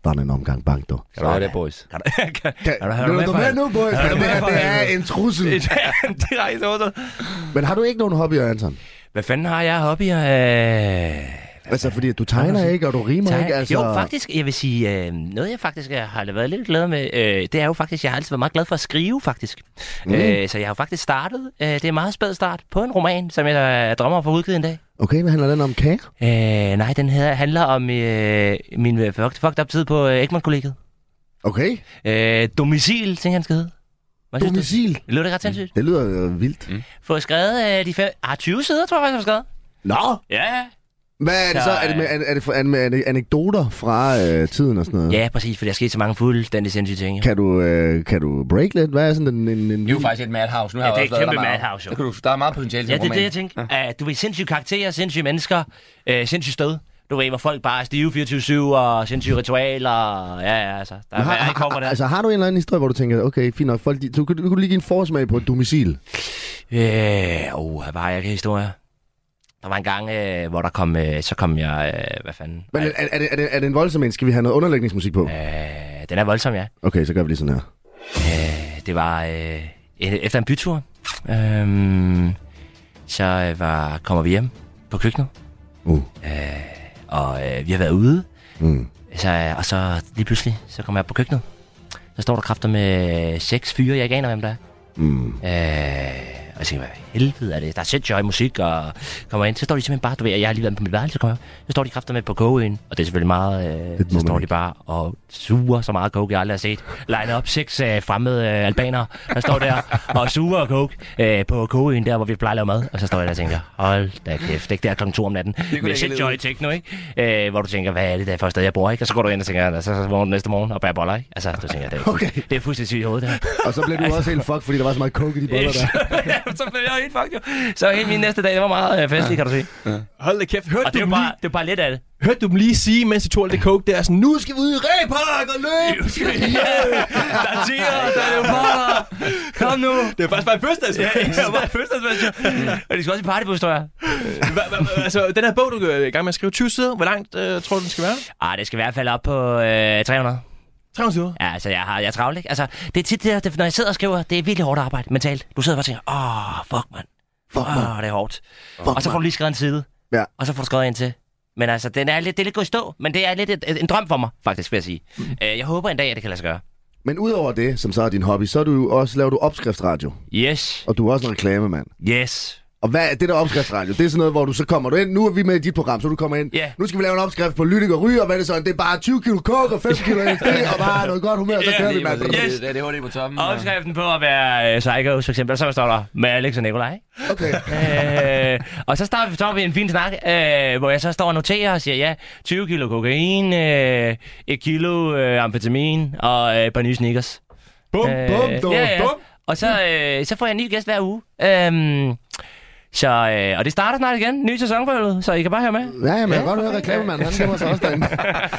D: sådan en omgang bank, du.
E: Kan du høre det, boys?
D: Kan,
C: du- har du med
D: du
C: for
D: med
C: helvede?
D: nu, boys?
C: Har du
D: Men det
C: med
D: her
C: for
D: det er
C: helvede?
D: en trussel.
C: Direkte ordret.
D: Men har du ikke nogen hobbyer, Anton?
C: Hvad fanden har jeg hobbyer? Øh,
D: Altså, fordi at du tegner ikke, og du rimer
C: teg-
D: ikke, altså...
C: Jo, faktisk, jeg vil sige, øh, noget jeg faktisk er- har været lidt glad med, øh, det er jo faktisk, jeg har altid været meget glad for at skrive, faktisk. Mm. Øh, så jeg har jo faktisk startet, øh, det er en meget spæd start, på en roman, som jeg øh, drømmer om at få udgivet en dag.
D: Okay, hvad handler den om? Kage?
C: Øh, nej, den her handler om øh, min øh, fucked fucked up tid på øh, Egmont-kollegiet.
D: Okay.
C: Øh, domicil, tænker jeg, han skal hedde. Hvad synes du? Mm.
D: Domicil.
C: Lød det ret sindssygt?
D: Det lyder øh, vildt.
C: Fået skrevet øh, de fem... Ah, 20 sider, tror jeg faktisk, jeg har skrevet.
D: Nå!
C: Ja,
D: Hvad er det så?
C: Så,
D: Er det med,
C: øh,
D: er det, er det, for- er det med ane- anekdoter fra øh, tiden og sådan noget?
C: ja, præcis, for der er sket så mange fuldstændig sindssyge ting. jo.
D: Kan du, øh, kan du break lidt? Hvad er sådan en... en, en
E: Det er jo faktisk et madhouse. Nu har
C: Ja,
E: jeg
C: det er
E: også lavet
C: et kæmpe
E: der meget.
C: madhouse, jo.
E: Der, kan du, der er meget potentiale til
C: Ja,
E: en
C: det er det,
E: roman.
C: jeg tænker. Ja. Du ved, sindssyge karakterer, sindssyge mennesker, øh, sindssygt sted. Du ved, hvor folk bare er stive 24-7 og sindssyge ritualer. og- Ja, ja, altså. Der er
D: har,
C: hvad kommer
D: har,
C: der.
D: altså, har du en eller anden historie, hvor du tænker, okay, fint nok, folk, de, du, du, du kunne lige give en forsmag på et domicil?
C: Øh, oh, hvad var jeg ikke historier? Der var en gang, øh, hvor der kom, øh, så kom jeg, øh, hvad fanden?
D: Men er, er, det, er, det, er det en voldsom en? Skal vi have noget underlægningsmusik på?
C: Øh, den er voldsom, ja.
D: Okay, så gør vi lige sådan her.
C: Øh, det var øh, e- efter en bytur. Øhm, så øh, var, kommer vi hjem på køkkenet,
D: Uh.
C: og øh, vi har været ude.
D: Mm.
C: Så, øh, og så lige pludselig, så kommer jeg på køkkenet. Så står der kræfter med seks fyre, jeg ikke aner, hvem der er. Mm. Øh, og jeg tænker, hvad helvede er det? Der er sindssygt høj musik, og kommer ind. Så står de simpelthen bare, du ved, og jeg har lige været på mit værelse, så kommer jeg op. Så står de kræfter med på kogeøen, og det er selvfølgelig meget...
D: må
C: Øh, så står
D: man
C: de bare og suger så meget coke, jeg aldrig har set. Line op seks øh, fremmede øh, albanere, der står der og suger og coke øh, på kogeøen, der hvor vi plejer at lave mad. Og så står jeg der og tænker, hold da kæft, ikke? Det er klokken to om natten. Det
E: jeg
C: er
E: ikke
C: shit
E: leve
C: joy
E: med.
C: techno, ikke? Øh, hvor du tænker, hvad er det der for et sted, jeg bor, ikke? Og så går du ind og tænker, så, så vågner du næste morgen og bærer boller, ikke? Altså, du tænker, det er, okay. det er fuldstændig sygt i hovedet, det her.
D: Og så blev
C: Altså-
D: du også helt fuck, fordi der var så meget coke i de boller der.
C: Jamen, så blev jeg helt fucked, jo. Så hele min næste dag, det var meget øh, festlig, kan du sige.
F: Hold da kæft, hørte
C: Og det er
F: du,
C: jo
F: dem
C: bare,
F: lige,
C: det er bare lidt af det.
F: hørte du dem lige sige, mens de tog alt det coke der, sådan, nu skal vi ud i Repark og løbe!
C: Der er tiger, der er leoparder. Kom nu.
F: Det er faktisk bare en fødselsdag.
C: Det var bare fødselsdagsmæssigt. Og de skal også i partybus, tror jeg.
F: Altså, den her bog, du er i gang med at skrive 20 sider, hvor langt øh, tror du, den skal være?
C: Ah, det skal i hvert fald op på øh, 300.
F: 300 sider.
C: Ja, altså, jeg, har, jeg er travlt, ikke? Altså, det er tit det, der, det, når jeg sidder og skriver, det er virkelig hårdt arbejde mentalt. Du sidder bare og tænker, åh, oh, fuck, mand. Fuck, man. oh, det er hårdt. Fuck, og så får du lige skrevet en side.
D: Ja.
C: Og så får du skrevet en til. Men altså, den er lidt, det er lidt gået i stå, men det er lidt et, et, en drøm for mig, faktisk, vil jeg sige. Mm. Øh, jeg håber en dag, at det kan lade sig gøre.
D: Men udover det, som så er din hobby, så er du jo også, laver du opskriftsradio.
C: Yes,
D: Og du er også en reklamemand.
C: yes.
D: Og hvad er det der opskriftsradio? Det er sådan noget, hvor du så kommer du ind. Nu er vi med i dit program, så du kommer ind.
C: Ja.
D: Nu skal vi lave en opskrift på lytik og ryger. Hvad er det så? Det er bare 20 kilo coke og 5 kilo LSD og bare noget godt humør, så
C: Ja,
D: kører vi,
E: lige
D: mand.
E: præcis.
C: Yes.
E: Det er det HD på toppen. ja.
C: Opskriften på at være øh, psycho, for eksempel, så står der med Alex og Nikolaj.
D: Okay.
C: øh, og så starter vi, starter vi en fin snak, øh, hvor jeg så står og noterer og siger, ja, 20 kilo kokain, øh, 1 kilo øh, amfetamin og øh, et par nye sneakers. Øh,
F: Bum, bum, dum,
C: ja, ja.
F: bum.
C: Og så, øh, så får jeg en ny gæst hver uge. Øhm, så, øh, og det starter snart igen, ny sæson for helvede, så I kan bare høre med.
D: Ja, ja, men jeg kan godt høre reklamemanden. Han gemmer sig også derinde.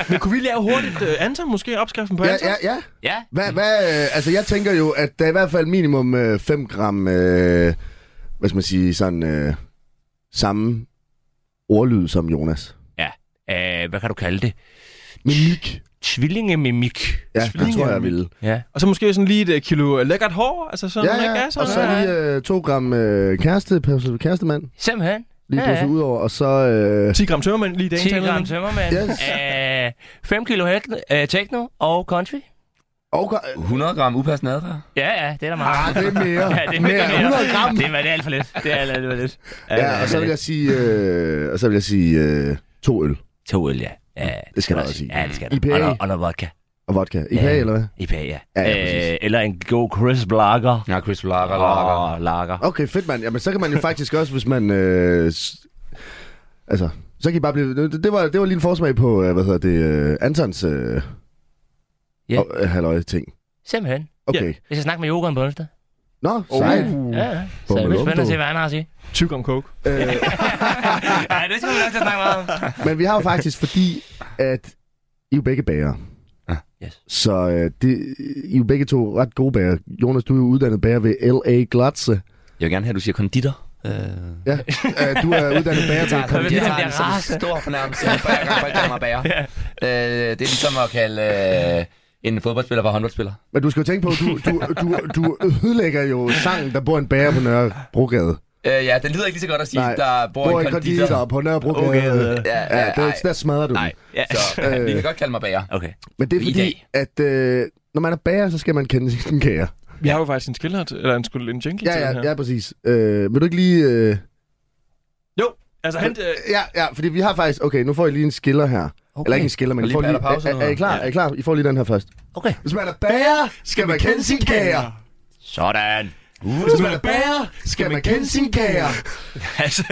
F: Men kunne vi lave hurtigt uh, Anton måske, opskriften på
D: Ja,
F: Anton?
D: ja, ja.
C: Ja,
D: Hvad, hvad, øh, altså jeg tænker jo, at der er i hvert fald minimum øh, 5 gram, øh, hvad skal man sige, sådan øh, samme ordlyd som Jonas.
C: øh, hvad kan du kalde det?
D: Mimik.
C: Tvillingemimik.
D: Ja, det tror jeg, jeg ville.
C: Ja.
F: Og så måske sådan lige et øh, kilo øh, lækkert hår, altså sådan
D: Ja,
F: noget
D: ja.
F: gas,
D: Og så
F: noget.
D: lige øh, 2 gram øh, kæreste, kærestemand.
C: Simpelthen.
D: Lige
C: Ja, ja.
D: pludselig ud over, og så... Øh,
F: 10 gram tømmermænd lige i dag.
C: 10 gram tømmermand,
D: Yes.
C: øh, 5 kilo hek- øh, techno og country.
D: og,
E: 100 gram upassende adfærd.
C: Ja, ja, det er der meget.
D: Ah, det er mere.
C: Ja, det er mere.
D: 100 gram.
C: Det er, det er alt for lidt. Det er alt, alt for lidt.
D: Ja, og så vil jeg sige, øh, og så vil jeg sige øh, to øl
C: To øl, ja. ja det,
D: skal man
C: også
D: også sige.
C: Ja, det skal der.
D: IPA.
C: Og, noget- og noget vodka.
D: og vodka. IPA,
C: Ja.
D: eller hvad?
C: IPA, ja.
D: Ja, ja, præcis.
C: øh, eller en god crisp lager.
E: Ja, Chris Lager,
C: Åh, lager.
D: Okay, fedt mand. Jamen, så kan man jo faktisk også, hvis man... Øh, s- altså, så kan I bare blive... Det det var, det var lige en forsmag på, øh, hvad hedder det, øh, Antons... Øh,
C: Ja.
D: yeah. øh, halløj, ting.
C: Simpelthen.
D: Okay.
C: Jeg skal snakke med Jokeren på onsdag.
D: Mm. Nå, sejt.
C: Oh. Ja, ja. Så det
D: Bummelum,
C: er spændende at
D: du.
C: se, hvad han har at sige.
F: 20 gram coke.
D: Øh,
C: Ja, det skal vi nok til at snakke meget om.
D: men vi har jo faktisk, fordi at I er jo begge bager.
C: Yes.
D: Så øh, det, I er jo begge to ret gode bager. Jonas, du er jo uddannet bager ved L.A. Glotze.
E: Jeg vil gerne have, at du siger konditor. Øh,
D: Ja, øh, du er uddannet bager til
C: Kom, det er
E: konditor
C: den
E: er
C: der
E: en som
C: race.
E: stor fornærmelse, hver gang folk kalder mig bager. Øh, det er ligesom at kalde øh, en fodboldspiller for håndboldspiller.
D: Men du skal jo tænke på, du, du, du, du ødelægger jo sangen, der bor en bager på Nørrebrogade.
E: Øh, ja, den lyder ikke lige så godt at sige,
D: Nej,
E: der bor,
D: Bor
E: en konditor.
D: på Nørrebrogade. Okay,
E: Ja,
D: ja,
E: ja,
D: det,
E: ej.
D: der smadrer du den.
E: Nej, så øh, I kan godt kalde mig bager.
C: Okay.
D: Men det er
E: I
D: fordi,
E: dag.
D: at øh, når man er bager, så skal man kende sin kære.
F: Vi har jo faktisk en skiller, til- eller en, skuld- en jingle
D: Ja,
F: til den
D: ja,
F: her.
D: ja, præcis. Øh, vil du ikke lige... Øh,
F: Jo, altså han... Øh,
D: ja, ja, fordi vi har faktisk... Okay, nu får I lige en skiller her. Okay. Eller ikke en skiller, men
E: Og
D: I
E: lige
D: får lige...
E: patterpause
D: Er, er, er, I
E: nu.
D: klar? Er I klar? I får lige den her først.
C: Okay.
D: Hvis man er bager, skal man kende sin kære.
C: Sådan.
D: Hvis man er bager, skal man kende sin kære.
C: Altså,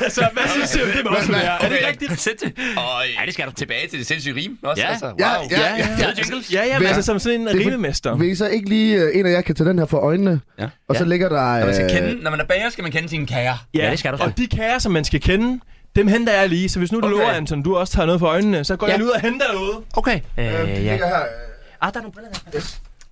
F: altså, hvad synes du, det må også være? Er det
E: okay.
F: rigtigt?
C: sindssygt.
E: Og
C: Ja, det skal du.
E: tilbage til det sindssyge rim også.
C: Ja.
E: Altså, wow.
D: Ja, ja, ja.
C: Fede jingles.
F: Ja, ja, men
D: Hvad?
F: altså som sådan en
D: Det er for-
F: rimemester.
D: Vil I så ikke lige... øh, En af jer kan tage den her for øjnene,
E: Ja.
D: og så ligger der...
E: Når man, skal
D: øh,
E: kende, når man er bager, skal man kende sine kager.
C: Ja, det skal du.
F: Og de kager, som man skal kende, dem henter jeg lige. Så hvis nu du
E: Okay.
F: lover, Anton, du også tager noget for øjnene, så går
C: Ja.
F: jeg lige ud og henter noget.
C: Okay.
D: øh, de
C: Øh, ja.
D: ligger her.
C: Ah, der er nogle briller der.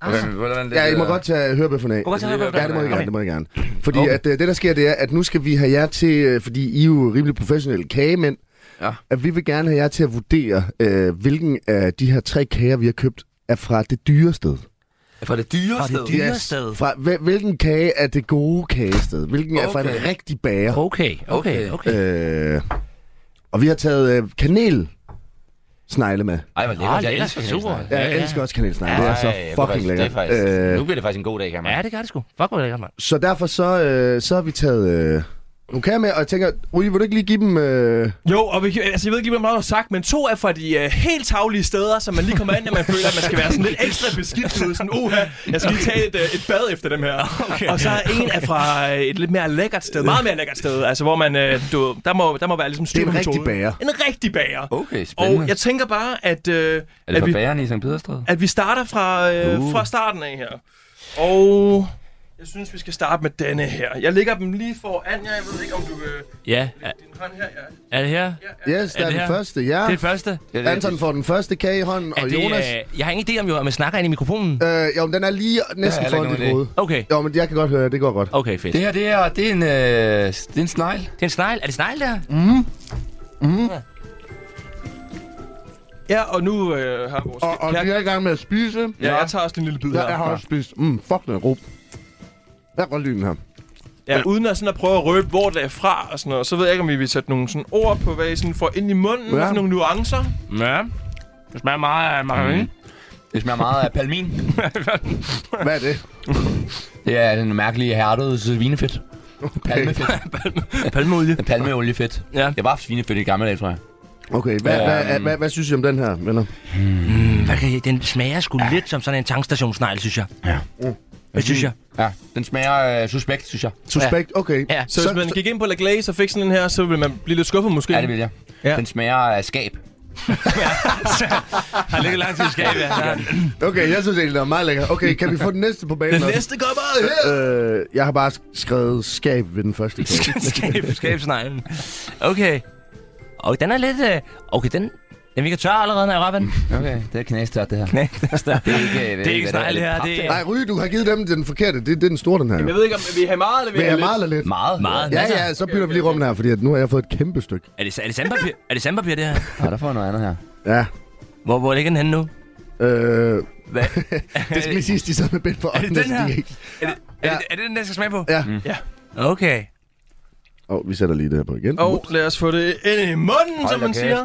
E: Okay, men hvordan er det
D: Ja, I må
E: der?
D: godt tage hørebøffen af.
C: Du kan godt tage hørebøffen af.
D: Ja, det må I gerne,
C: Okay.
D: det må I gerne. Fordi
E: Okay.
D: at, øh, det, der sker, det er, at nu skal vi have jer til, øh, fordi I er jo rimelig professionelle kagemænd,
E: Ja.
D: at vi vil gerne have jer til at vurdere, øh, hvilken af de her tre kager, vi har købt, er fra det dyre sted.
E: For det dyre sted.
C: dyre- Dyrested?
D: Fra, hvil- hvilken kage er det gode kagested? Hvilken okay. er fra en
E: Okay.
D: rigtig bager?
C: Okay, okay, okay.
D: Øh, og vi har taget øh, kanel snegle øh, med.
E: Ej, hvor lækkert.
C: Åh,
E: Jeg
C: lækkert.
E: elsker
C: Super.
E: kanelsnegle.
D: Jeg
C: Ja, ja.
D: elsker også kanelsnegle.
E: Ej,
D: det er så
E: jeg kunne
D: fucking
E: faktisk-
D: lækkert.
E: Det er faktisk,
D: Øh,
E: nu bliver det faktisk en god dag, kan man.
C: Ja, det gør det sgu. Fuck, hvor er det lækkert, mand.
D: så derfor så, øh, så har vi taget øh, nogle kager med, og jeg tænker, Uli, vil du ikke lige give dem... Øh,
F: Jo, og vi, altså, jeg ved ikke lige, hvor meget du har sagt, men to er fra de øh, helt tavlige steder, som man lige kommer ind, og man føler, at man skal være sådan lidt ekstra beskidt. Du ved, sådan, uha, jeg skal lige tage et, øh, et bad efter dem her. Okay. Og så er en er fra øh, et lidt mere lækkert sted, meget mere lækkert sted, altså hvor man, øh, du, ved, der, må, der må være ligesom styr
D: Det er en
F: på
D: rigtig
F: metoden.
D: bager.
F: En rigtig bager.
E: Okay,
F: Og
E: spændende.
F: jeg tænker bare, at, øh,
E: Er det
F: at,
E: fra
F: vi,
E: bageren i St. Pederstræde?
F: at vi starter fra, øh,
D: Uh.
F: fra starten af her. Og jeg synes, vi skal starte med denne her. Jeg lægger dem lige foran jer. Jeg ved ikke, om du vil...
C: Ja, er,
F: Din hånd her, ja.
C: er det her? Det
D: yes, det er
C: det
D: den
C: her?
D: første, Ah. ja.
C: er det første.
E: Ja, det er-
D: Anton får den første kage i hånden,
C: Er
D: og
C: det,
D: Jonas...
C: øh, jeg har ingen idé om, jo, om jeg snakker ind i mikrofonen.
D: Øh, jo, men den er lige næsten
E: heller ikke
D: foran
E: nogen
D: dit
E: idé.
D: hoved.
C: Okay,
D: Jo, men jeg kan godt høre, det går godt.
C: okay, fedt.
E: Det her, det er, det er en, øh, det er en snegl.
C: Det er en snegl. Er det snegl, der?
F: Ja, og nu øh, har vores...
D: Og, og
F: kære-
D: vi er i gang med at spise. Ja,
F: Ja, jeg tager også en lille bid
D: jeg har også spist. Mm, fuck, den er god. Jeg kan godt lide den her.
F: Ja, uden at, sådan at prøve at røbe, hvor det er fra og sådan noget, så ved jeg ikke, om vi vil sætte nogle sådan ord på, hvad I sådan får ind i munden, ja.
D: Ja.
F: hvad for nogle nuancer.
C: Ja. Det smager meget af margarine.
E: Det smager meget af palmin.
D: Hvad er det?
E: Det er den mærkelige hærdede øh, svinefedt. Palmefedt.
C: Palmeolie.
E: Palmeoliefedt.
C: Ja.
E: Det var svinefedt i gamle dage, tror jeg.
D: Okay, hvad,
E: Øhm.
D: hvad, hvad, hvad, hvad synes I om den her, venner?
C: Hvad kan jeg- Øh, Den smager sgu lidt som sådan en tankstationssnegl, synes jeg.
E: Ja.
C: Det synes jeg.
E: Ja, den smager øh, suspekt, synes jeg.
D: Suspekt, okay.
C: Ja.
F: Så, så hvis man gik ind på La Glace og fik sådan en her, så ville man blive lidt skuffet måske.
E: Ja, det vil jeg.
F: Ja.
E: Den smager af skab.
C: Har ligget lang tid i skabet.
D: Okay, jeg synes egentlig, det er meget lækker. Okay, kan vi få den næste på banen?
F: Den næste går bare her.
D: Øh, jeg har bare sk- skrevet skab ved den første kage.
C: Skab, skabsneglen. Okay. Og den er lidt... øh, Okay, den, den virker tør allerede, når jeg rører den.
E: Okay, det er knæstørt, det her.
C: Nej, den er større.
E: Det er ikke, øh,
C: Det er ikke snegl, det her. Det
D: Nej,
C: er
D: Ryge, du har givet dem den forkerte. Det, det er den store, den her.
F: Jeg ved ikke, om vi har meget eller vi
D: Vil
F: har
D: jeg
F: lidt.
D: meget eller lidt?
E: Meget.
C: meget.
D: Ja,
C: masser.
D: ja, så bytter vi lige rummen her, fordi at nu har jeg fået et kæmpe stykke.
C: Er det, er det sandpapir? Er det sandpapir, det her?
E: Ja, der får jeg noget andet her.
D: Ja.
C: Hvor, hvor ligger den henne nu?
D: Øh,
C: Hvad?
D: det skal lige sidst, de sad med bind for
C: Er det
D: øjnene,
C: den
D: så
C: her?
D: de ikke...
C: Er det, er det den, der skal smage på? Mm.
D: Ja.
F: Ja.
C: Okay.
D: Åh, oh, vi sætter lige det her på igen.
F: Og lad os få det ind i munden,
E: Hold
F: som
E: da
F: man
E: kæft.
F: siger.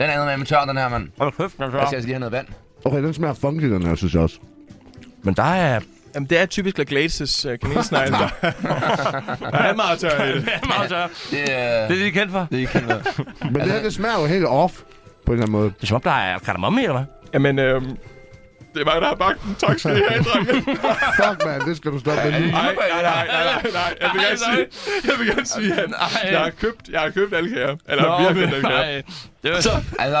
E: Den er noget med tør, den her, mand.
C: Hold kæft, den
E: Jeg skal altså lige have noget vand.
D: Okay, den smager funky, den her, synes jeg også.
C: Men der er...
F: Jamen, det er typisk La Glaces uh, kanelsnegl. der Der er meget tør i det.
C: Det er meget tør.
E: Det, øh,
C: Det er det, de er kendt for.
E: det er ikke helt noget.
D: Men det her, det smager jo helt off, på en eller anden måde.
C: Det er som om, der er kardemomme i, eller hvad?
F: Jamen, øhm, det er mig, der har bagt den. Tak skal I have, drenge.
D: Fuck, man, det skal du stoppe med lige.
F: Nej, nej, nej, nej, nej, nej. Jeg vil gerne sige, jeg vil gerne sige at jeg har købt, jeg har købt alle kager. Eller Nå, vi har købt alle kager.
C: Det var...
E: Altså,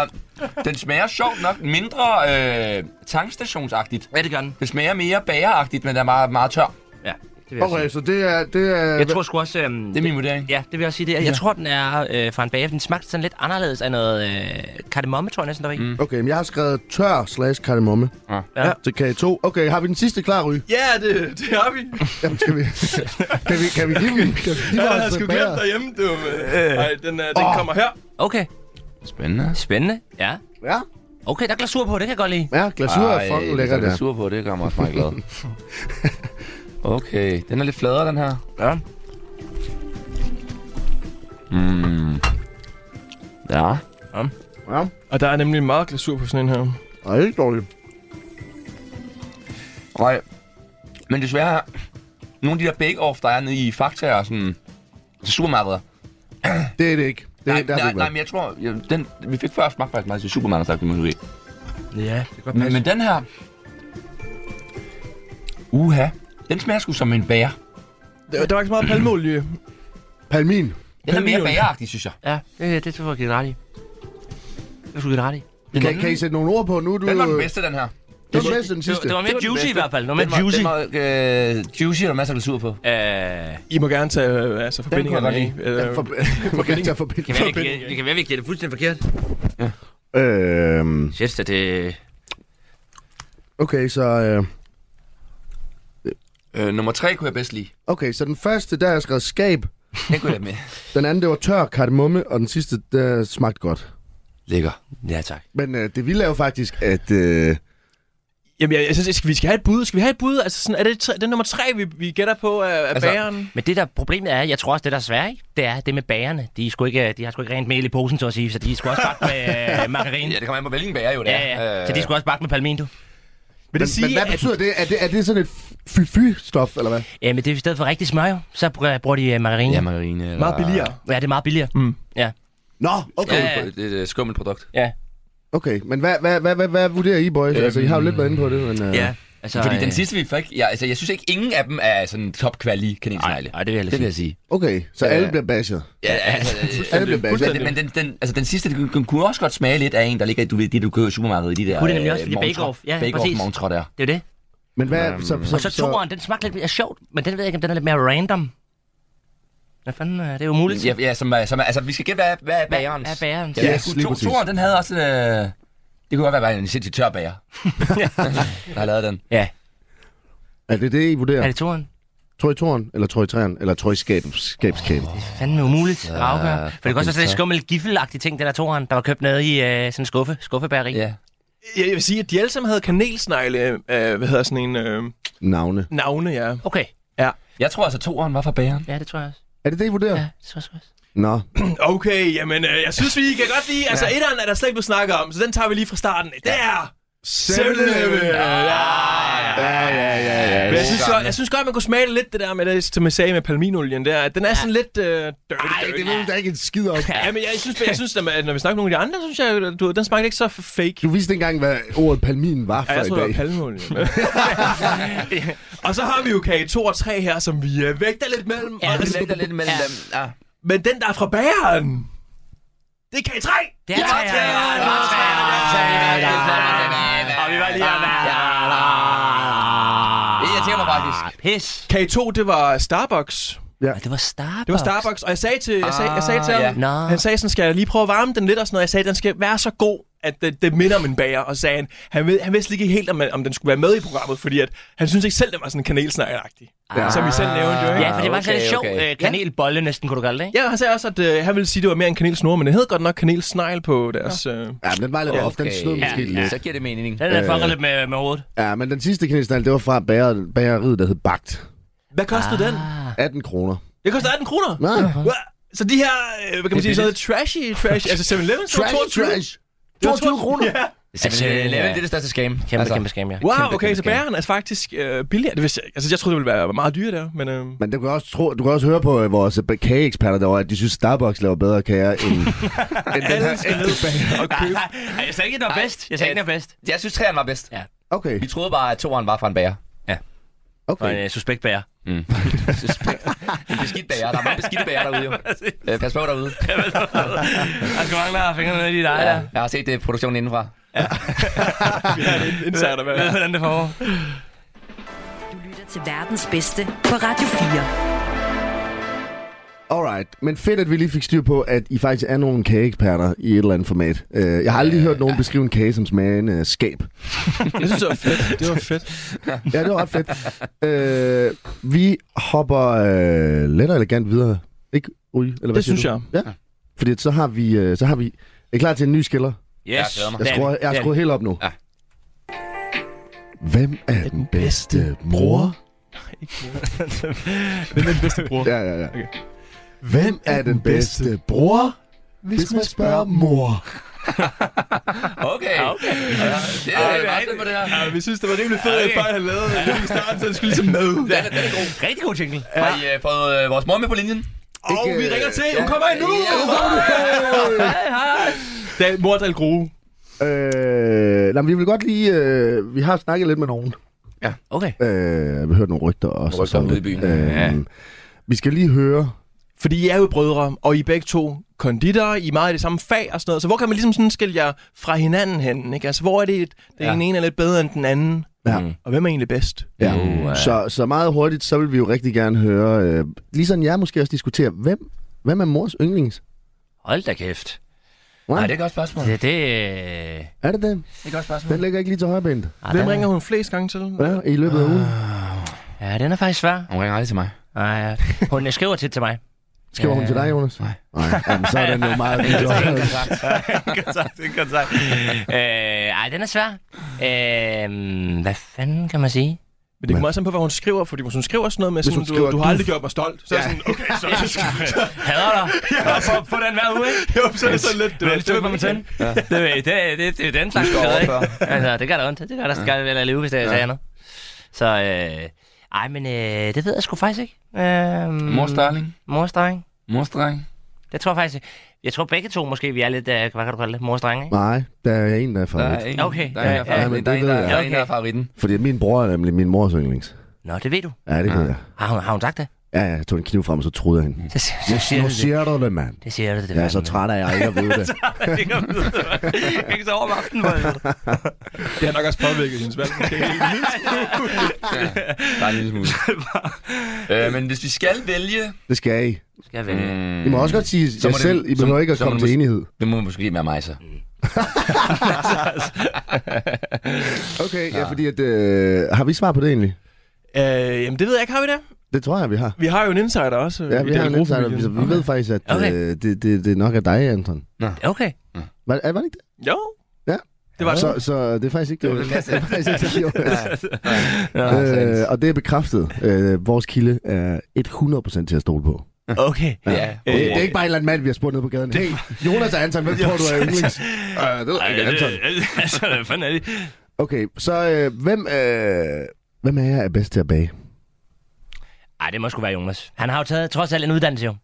E: den smager sjovt nok mindre øh, tankstationsagtigt.
C: Ja, det gør den.
E: Det smager mere bageragtigt, men den er meget, meget tør.
C: Ja, det vil jeg
D: Okay,
C: sige.
D: så det er... Det er
C: Jeg tror sgu også... Øhm,
E: Det er min vurdering.
C: Ja, det vil jeg også sige. Det. er- Jeg tror, den er øh, fra en bager. Den smagte sådan lidt anderledes af noget øh, kardemomme, tror jeg næsten, der var i. Mm.
D: Okay, men jeg har skrevet tør slash kardemomme.
E: Ja.
D: Ja. Til kage 2. Okay, har vi den sidste klar, Ry?
F: Ja, det, det har vi.
D: Jamen, skal vi... kan vi, kan vi give dem? altså Kan vi give
F: Jeg
D: vores
F: havde sgu
D: bager?
F: glemt derhjemme. Du. Nej, den, øh, den
D: Åh.
F: kommer her.
C: Okay,
E: Spændende.
C: spændende. Ja.
D: Ja,
C: Okay, der er glasur på, det kan jeg godt lide.
D: ja, glasur er fucking lækker,
E: det
D: der.
E: er sur på, det gør mig også meget glad. Okay, den er lidt fladere, den her.
C: Ja.
E: Hmm. Ja.
D: Ja,
F: Og der er nemlig meget glasur på sådan en her.
D: og det er ikke dårligt.
E: Nej. Men desværre, nogle af de der bake-off, der er nede i Fakta og sådan til supermarkeder.
D: Det er det ikke. Det,
E: Nej,
D: der er det
E: nej,
D: ikke
E: nej,
D: været.
E: men jeg tror, jeg, den, vi fik før smagt faktisk meget til supermarkeder, sagt, måske.
C: Ja, det kan godt
E: Men, men den her... Uha. Den smager sgu som en bær.
F: Der, der var ikke så meget palmeolie.
D: Palmin.
E: Den er mere
F: Palmeolie.
E: bæragtig, synes jeg.
C: Ja, det, det tror jeg, jeg ret i. Det tror jeg, ret i.
D: Kan, kan I sætte nogle ord på? Nu er du...
E: Den var den
D: øh,
E: bedste, den her.
D: Det var den bedste, den
C: Det var,
D: sidste.
C: det var mere
E: Det var den
C: juicy i
E: bedste.
C: hvert fald. Det var mere
E: den var,
C: juicy.
E: Den var, øh, juicy, og der er masser af glasur på.
C: Øh,
F: I må gerne tage øh, altså, forbindingerne
E: godt
F: af.
D: Ja,
F: Øh,
D: for- for- kan jeg tage forbind-
C: det kan være, vi giver- det kan være, vi giver det fuldstændig forkert.
D: Øhm,
C: Shit, det...
D: Okay, så... øh,
E: Øh, nummer tre kunne jeg bedst lide.
D: Okay, så den første, der har jeg skrevet skab.
E: Den kunne jeg have med.
D: Den anden, det var tør kardemomme, og den sidste, der smagte godt.
E: Lækker.
C: Ja, tak.
D: Men øh, det vilde er jo faktisk, at øh,
F: Jamen, jeg, jeg synes, skal vi skal have et bud. Skal vi have et bud? Altså, sådan, er det, tre- det er nummer tre, vi, vi gætter på af, af altså,
E: Altså,
F: bageren?
C: Men det der problemet er, jeg tror også, det der er svært, ikke? det er det med bagerne. De, er sgu ikke, de har sgu ikke rent mel i posen, så at sige, så de er sgu også bagt med øh, margarine.
E: Ja, det kommer an på, hvilken bager jo det
C: Ja,
E: er. Øh,
C: ja. Så de skulle også bakke med palmin, du.
D: Men,
F: Vil det
D: men
F: sige,
D: hvad
F: at
D: betyder det? Er det, er det sådan et fy-fy-stof, eller hvad?
C: Ja, men det er i stedet for rigtig smør, jo. Så br- bruger de øh, margarine.
E: Ja,
C: Ja,
E: margarine. Eller...
F: meget billigere?
C: ja, det er meget billigere. Mm. Ja.
D: Nå,
E: Ja,
D: okay.
E: ja. Det er et øh, skummelt produkt.
C: ja.
D: Okay, men hvad, hvad, hvad, hvad, hvad vurderer I, boys? Altså, I har jo lidt været inde på det, men... Uh...
C: ja. Altså,
E: Fordi
C: øh,
E: den sidste, vi fik... Ja, altså, jeg synes ikke, ingen af dem er sådan top kvali kanelsnegle.
C: Nej, det vil jeg heller
E: Det vil jeg sige.
D: Okay, så alle bliver bashed.
E: Ja, altså,
D: Alle bliver bashed.
E: Men, men den, den, altså, den sidste, den, den kunne også godt smage lidt af en, der ligger i- du ved, det, du køber i supermarkedet i de der...
C: Kunne det nemlig
E: øh,
C: også, fordi
E: morgentrå-
C: Bake Off. Ja,
E: Bake
C: præcis.
E: Off morgentrå der.
C: Det er jo det.
D: Men hvad... Så, så,
C: Og så toeren, den smagte lidt mere sjovt, men den ved jeg ikke, om den er lidt mere random. Hvad fanden, øh, det er jo muligt.
E: Ja, ja som, er- som, er- altså, vi skal gætte, hvad, er- hvad er
C: Hvad
E: bagerens?
C: er bagerens?
E: Ja,
D: Yes,
E: yes,
D: lige
E: to,
D: præcis.
E: toren, den havde også... Øh, det kunne godt være, bare en sindssygt tør bager. der har lavet den.
C: ja.
D: Er det det, I vurderer?
C: Er det toeren?
D: Tror I toren, eller tror I træeren, eller tror I skabens, skabskabet?
C: Det er fandme umuligt at afgøre. For det kan også være sådan en
E: så-
C: skummel giffelagtig ting, den der toeren, der var købt nede i øh, sådan en skuffe, skuffebæreri.
E: Ja.
F: Jeg, jeg vil sige, at de alle sammen havde kanelsnegle, øh, hvad hedder sådan en øh,
D: Navne.
F: navne, ja.
C: Okay,
E: Jeg tror altså, toren var fra bageren.
C: ja, det tror jeg også.
D: Er det det, I vurderer?
C: Ja, det tror jeg også.
D: Nå,
F: Okay, jamen, øh, jeg synes, vi kan godt lide... Altså, etteren er der slet ikke blevet snakket om, så den tager vi lige fra starten. Det er 7-Eleven! Ja.
D: Ja, ja, ja,
F: Men
D: ja.
F: jeg synes, så, jeg synes godt, man kunne smage lidt det der med det, som jeg sagde med palminolien der. at Den er sådan lidt øh, dirty,
D: Ej,
F: dirty.
D: det ved du da ikke en skid om.
F: Ja, men jeg synes, jeg synes at når vi snakker med nogle af de andre, synes jeg, du, ved, den smagte ikke så fake.
D: Du vidste ikke engang, hvad ordet palmin var for
F: Ja, jeg
D: i
F: tror, det var
D: dag.
F: palmeolie. og så har vi jo kage 2 og 3 her, som vi øh, vægter lidt mellem.
C: Ja,
F: og
E: Det
C: det
E: ligger lidt mellem
C: Ja.
E: dem. Ja.
F: Men den, der er fra bæren, det er kage 3!
C: Det er træerne.
F: det er træerne.
C: Og vi var lige om
E: Det irriterer mig faktisk.
C: Pis.
F: Kage 2, det var Starbucks.
C: Og det var Starbucks.
F: Det var Starbucks, og jeg sagde til, jeg sagde, jeg sagde til ham,
E: Ah, ja.
C: Nå.
F: Han sagde sådan, skal jeg lige prøve at varme den lidt og sådan noget. Jeg sagde, den skal være så god, at det, det minder om en bager. Og så sagde han, han, ved, han vidste ikke helt, om, man- om den skulle være med i programmet, fordi at, han synes ikke selv, den var sådan kanelsnegleragtig. Ja. Som vi selv nævnte jo, ikke?
C: Ja, for det var sådan
E: Ah, okay,
C: en sjov
E: okay.
C: øh, kanelbolle næsten, kunne du kalde det, ikke?
F: Ja, han sagde også, at øh, han ville sige, at det var mere en kanelsnore, men det hed godt nok kanelsnegl på deres... Øh...
D: Ja, men den var lidt off. Den snød måske lidt.
E: Så giver det mening.
C: Den er fucket lidt med, med hovedet.
D: Ja, men den sidste kanelsnegl, det var fra bager, bageriet, der hed Bagt.
F: Hvad kostede ah. den?
D: 18 kroner.
F: Det kostede 18 kroner.
D: Nå,
F: Hva? Så de her, øh, hvad kan man sige, sådan noget trashy, trash, altså 7-Eleven, så var
D: trash,
F: 22
D: trash.
F: Det var
D: 22 kroner.
F: Ja.
E: Altså,
C: Ja.
E: level, det er det største scam.
C: Kæmpe,
E: altså,
C: kæmpe skam, ja.
F: Wow,
E: Kæmpe,
F: okay,
E: kæmpe
F: så
E: skam.
F: bæren er faktisk øh, billigere. Det vidste jeg ikke. Altså, jeg troede, det ville være meget dyrere der, men... Øh...
D: Men du kan også, tro, du kan også høre på øh, vores øh, kageeksperter derovre, at de synes, Starbucks laver bedre kager end...
F: Alle skal ned og købe.
C: Ej, jeg sagde ikke, den var bedst. Jeg sagde ikke, den var bedst.
E: Jeg synes, træerne var bedst.
C: Ja.
D: Okay,
E: Vi troede bare, at toeren var fra en bager.
C: Og en
D: okay.
C: øh, suspekt bager.
E: En beskidt bager. Der er mange beskidte bager derude, jo. Øh, pas på derude.
C: Jeg skal mangle fingrene ned i dig,
E: Ja,
C: der.
E: jeg har set det produktionen indenfra.
F: Vi har en insider, hvad?
C: Ved, hvordan det foregår.
B: Du lytter til verdens bedste på Radio 4.
D: Alright, men fedt, at vi lige fik styr på, at I faktisk er nogle kageeksperter i et eller andet format. Øh, Jeg har aldrig hørt nogen beskrive en kage som smager af en øh, skab.
F: Jeg synes, det var fedt. Det var fedt.
D: Ja, det var ret fedt. Øh, vi hopper øh, let og elegant videre. Ikke, Ui? Eller hvad
F: Det
D: siger
F: synes
D: du?
F: jeg.
D: Ja, fordi så har vi... øh, Så har vi er I klar til en ny skiller?
E: Jeg glæder mig.
D: Jeg, skruer, jeg har skruet helt op nu.
E: Ja.
D: Hvem er den bedste mor?
F: Hvem er den bedste bror?
D: Ja, ja, ja. Hvem er den bedste bror, hvis man spørger mor?
E: Okay. okay. Ja, det er
C: det er
E: meget fedt
C: rigtigt.
E: på det her.
F: Ja, vi synes, det var rimelig fedt, at
C: Okay.
F: Fej havde lavet det lige i starten, så det skulle ligesom med.
E: Den er, den er god.
C: Rigtig god jingle.
E: Har I øh, fået øh, vores mor med på linjen?
F: Og vi ringer til. Hun kommer ind nu! Det er Mordal Grue.
D: Øh, nej, men vi vil godt lige... Øh, vi har snakket lidt med nogen.
C: Okay.
D: Øh, vi hørte nogle rygter også.
E: Rygter om
D: sådan.
E: ude i byen.
D: Øh,
E: Ja.
D: Vi skal lige høre...
F: Fordi I er jo brødre, og I er begge to konditorer, I er meget i det samme fag og sådan noget. Så hvor kan man ligesom sådan skille jer fra hinanden hen? Ikke? Altså, hvor er det, at den
E: Ja.
F: ene er lidt bedre end den anden? Mm.
D: Ja.
F: Og hvem er egentlig bedst?
D: Ja.
E: Jo, Uh, ja.
D: så, så meget hurtigt, så vil vi jo rigtig gerne høre... Øh, ligesom jeg måske også diskutere, hvem, hvem er mors yndlings?
C: Hold da kæft.
D: Wow.
E: Nej, det er et godt spørgsmål.
C: Det,
E: Det
C: det... øh,
D: Er det den?
E: er et godt spørgsmål.
D: Den ligger ikke lige til højrebenet.
C: ah,
F: Hvem
C: den-
F: ringer hun flest gange til?
D: Ja, i løbet af ugen.
C: Ja, den er faktisk svær.
E: Hun ringer aldrig til mig.
C: Nej, ja. hun øh, skriver tit til mig.
D: Skriver hun til dig, Jonas?
E: Nej.
D: Nej, jamen, så er den jo meget...
E: Det er en kontakt.
C: kontakt, en kontakt. Øh, ej, den er svær. Øhm, hvad fanden kan man sige?
F: Men det kommer også an på, hvad hun skriver, fordi hvis hun skriver sådan noget med, sådan,
D: hun skriver,
F: du, du har
D: du-
F: aldrig gjort mig stolt, så er jeg sådan, okay, så, så, så,
C: Hader dig. Og få, få den hver uge, ikke?
F: jo, så er det sådan lidt...
C: Det er stykke på min tænde. Det, er- det, er- det, det, er den slags, der ikke? Altså, det gør der ondt. Det gør der skal vel at leve, hvis det er sådan noget. Så, øh, ej, men øh, det ved jeg sgu faktisk ikke. Øh,
E: Mors darling.
C: Mors dreng.
E: Mors dreng.
C: Det tror jeg faktisk. Jeg tror begge to måske, vi er lidt, øh, hvad kan du kalde det? Mors dreng, ikke?
D: Nej, der er en, der er favorit.
E: en,
C: Okay.
E: der er en, der er
C: Ja,
E: favoritten.
D: men
E: Der er
D: det
E: en, der
D: ved
E: er- der er
C: jeg.
E: en, der er favoritten.
D: Fordi min bror er nemlig min mors yndlings.
C: Nå, det ved du.
D: Ja, det ved
E: Ah.
D: jeg.
C: Har hun, har hun sagt det?
D: Ja, ja, jeg tog en kniv frem, og så troede jeg hende.
C: Så, så,
D: Nu,
C: så siger
D: nu
C: du det.
D: siger du det, mand.
C: Det siger du det.
D: Jeg er så
C: fandme.
D: træt af, at jeg ikke ved det.
C: Ikke om det, var- Ikke så over om aftenen, hvor jeg-
F: Det har nok også påvirket hendes valg. måske.
E: Der er en lille smule. øh, men hvis vi skal vælge...
D: Det skal I.
C: Skal jeg
E: Mm.
C: vælge?
D: I må også godt sige
E: må
D: jer
E: det-
D: selv. I
E: så-
D: behøver ikke at
E: så må
D: komme
E: det
D: til
E: mås-
D: enighed.
E: Det må måske være mig så.
D: Okay, ja, fordi at... Øh, har vi svar på det egentlig?
F: Øh, jamen, det ved jeg ikke, har vi det?
D: Det tror jeg, vi har.
F: Vi har jo en insider også. øh,
D: Ja, vi har en insider. Vi, vi ved faktisk, at
C: Okay.
D: øh, det, det, det er nok er dig, Anton.
C: Okay.
D: Var, er- var det ikke det?
F: Jo.
D: Ja.
F: Det var
D: Så, så det er faktisk ikke det.
E: det,
D: Det
E: Lasse.
D: er faktisk ikke det. Jonas.
E: Ja,
D: Øh, og det er bekræftet. Øh, vores kilde er 100% til at stole på.
C: Okay.
E: Ja.
D: Det, det er ikke bare en eller anden mand, vi har spurgt ned på gaden. Hey, Jonas og Anton, hvem tror du er yndlings? Øh, det ved jeg ikke, Anton.
C: Altså, hvad fanden er det?
D: Okay, så øh, hvem, øh, hvem er jeg er bedst til at bage?
C: Ej, det må sgu være Jonas. Han har jo taget trods alt en uddannelse, jo.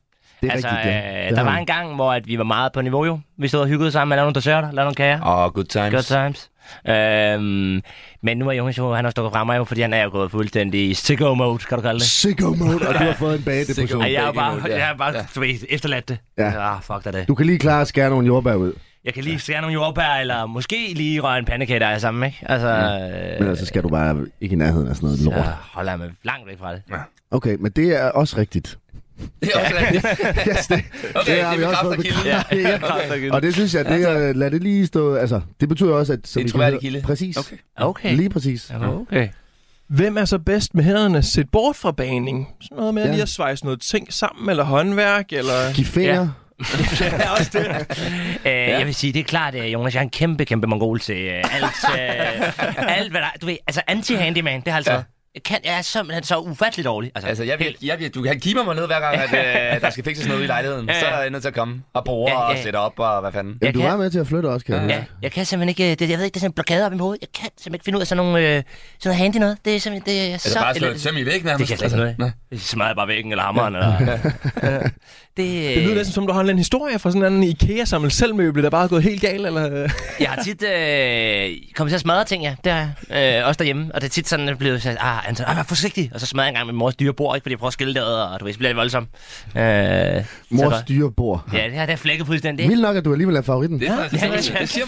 D: Det er
C: altså,
D: rigtigt,
C: øh,
D: ja. Det
C: der
D: har
C: var
D: han.
C: en gang, hvor at vi var meget på niveau, jo. Vi stod og hyggede sammen, lavede nogle desserter, lavede nogle kager.
E: Åh, oh, good times.
C: Good times. Øhm, men nu er Jonas jo, han har stukket fra mig jo, fordi han er jo gået fuldstændig i sicko mode, kan du kalde det?
D: Sicko mode, og du har fået en bagedepression.
C: Ej, jeg er
E: Begge
C: bare,
E: mode, ja.
C: jeg er bare du ved, efterladt det.
D: Ja.
C: Ja. Ah, fuck da det.
D: Du kan lige klare at skære nogle jordbær ud,
C: Jeg kan lige skære nogle jordbær, eller måske lige røre en pandekage, der er sammen, ikke? Altså,
D: men
C: øh,
D: ellers så skal du bare ikke i nærheden af sådan noget
C: så
D: lort.
C: holder jeg mig langt væk fra det.
D: Okay, men det er også rigtigt.
E: Det er også rigtigt.
D: Yes, det,
E: Okay, det
D: har
E: er
D: vi også fået
E: bekræftet kilden.
D: bekræftet. Ja.
E: Okay.
D: Og det synes jeg, det er, lad det lige stå, altså, det betyder også, at... som
E: En
D: I kan
E: troværdig
D: høre-
E: kilde.
D: Præcis.
E: Okay.
C: Okay.
D: Lige præcis.
C: Okay.
F: Hvem er så bedst med hænderne set bort fra baning? Sådan noget med ja.
D: Ja.
F: lige at svejse noget ting sammen, eller håndværk, eller...
D: Giv fingre.
F: Ja, også det.
C: Øh, ja. Jeg vil sige, det er klart, at Jonas, jeg er en kæmpe, kæmpe mongol til øh, alt, øh, alt, hvad der Du ved, altså anti-handyman, det har altså... Ja. Jeg, kan, jeg er simpelthen så ufattelig dårlig. Altså,
E: Altså, jeg vil, jeg vil, du kan kigge mig ned hver gang, at øh, der skal fikses noget i lejligheden.
C: Ja, ja.
E: Så er jeg nødt til at komme og bruge
C: Ja, ja.
E: og sætte op og hvad fanden.
D: Jamen, du
C: kan-
D: var med til at flytte også, kan jeg
C: Ja,
D: høre.
C: jeg kan simpelthen ikke, øh, det, jeg ved ikke, det er sådan en blokade op i mit hoved. Jeg kan simpelthen ikke finde ud af sådan, nogle, øh, sådan noget handy noget. Det er simpelthen, det er,
E: Er
C: så
E: det bare at slå et
C: elendigt.
E: søm i væggen nærmest? Altså,
C: Det kan jeg slet ikke noget af. Det smadrer bare væggen eller hammeren. Eller, det,
F: Det lyder
C: øh,
F: næsten som, du har en eller anden historie fra sådan en anden ikea samlet selvmøbel, der bare er gået helt galt, eller...
C: jeg har tit øh, kommet til at smadre ting, ja. Det har jeg. Øh, også derhjemme. Og det er tit sådan, at jeg bliver sagt, ah, Anton, ah, vær forsigtig. Og så smadrer jeg engang min mors dyre bord, ikke? Fordi jeg prøver at skille det ad, og du ved, så bliver det voldsomt. Øh,
D: Mors
C: så,
D: styrbord.
C: Ja, det her det er flækket fuldstændig.
D: Vildt nok, at du alligevel er favoritten.
E: Det, er,
C: Ja,
E: det, det siger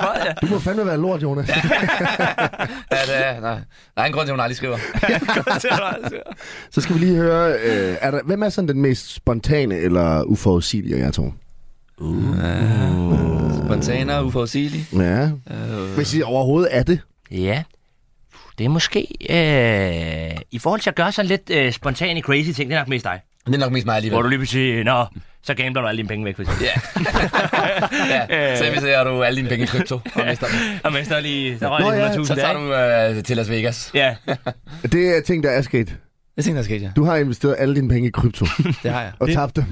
E: meget.
D: Du må fandme være lort, Jonas.
E: At, øh, nej, der er en grund til, at hun aldrig skriver.
D: Så skal vi lige høre, øh, er der, hvem er sådan den mest spontane eller uforudsigelige af jer to?
E: Uh. Spontaner, uforudsigelig.
D: Ja.
C: Øh.
D: Hvis I overhovedet er det.
C: Ja. Det er måske... Øh, I forhold til at gøre sådan lidt øh, spontane crazy ting, det er nok mest dig.
E: Det er nok mest mig
C: Hvor
E: alligevel.
C: du lige vil sige, nå, så gambler du alle dine penge væk, for eksempel.
E: Ja. ja. Så hvis jeg har du alle dine penge i krypto og mister dem.
C: Og mens der lige, der røg
D: Nå,
C: lige
D: ja,
C: 100.000
E: Så
C: der,
E: tager
C: ikke?
E: du øh, til Las Vegas.
C: Ja,
D: Det er ting, der er sket.
E: Jeg tænkte, der skete, ja.
D: Du har investeret alle dine penge i krypto
E: Det har jeg.
D: og tabt dem.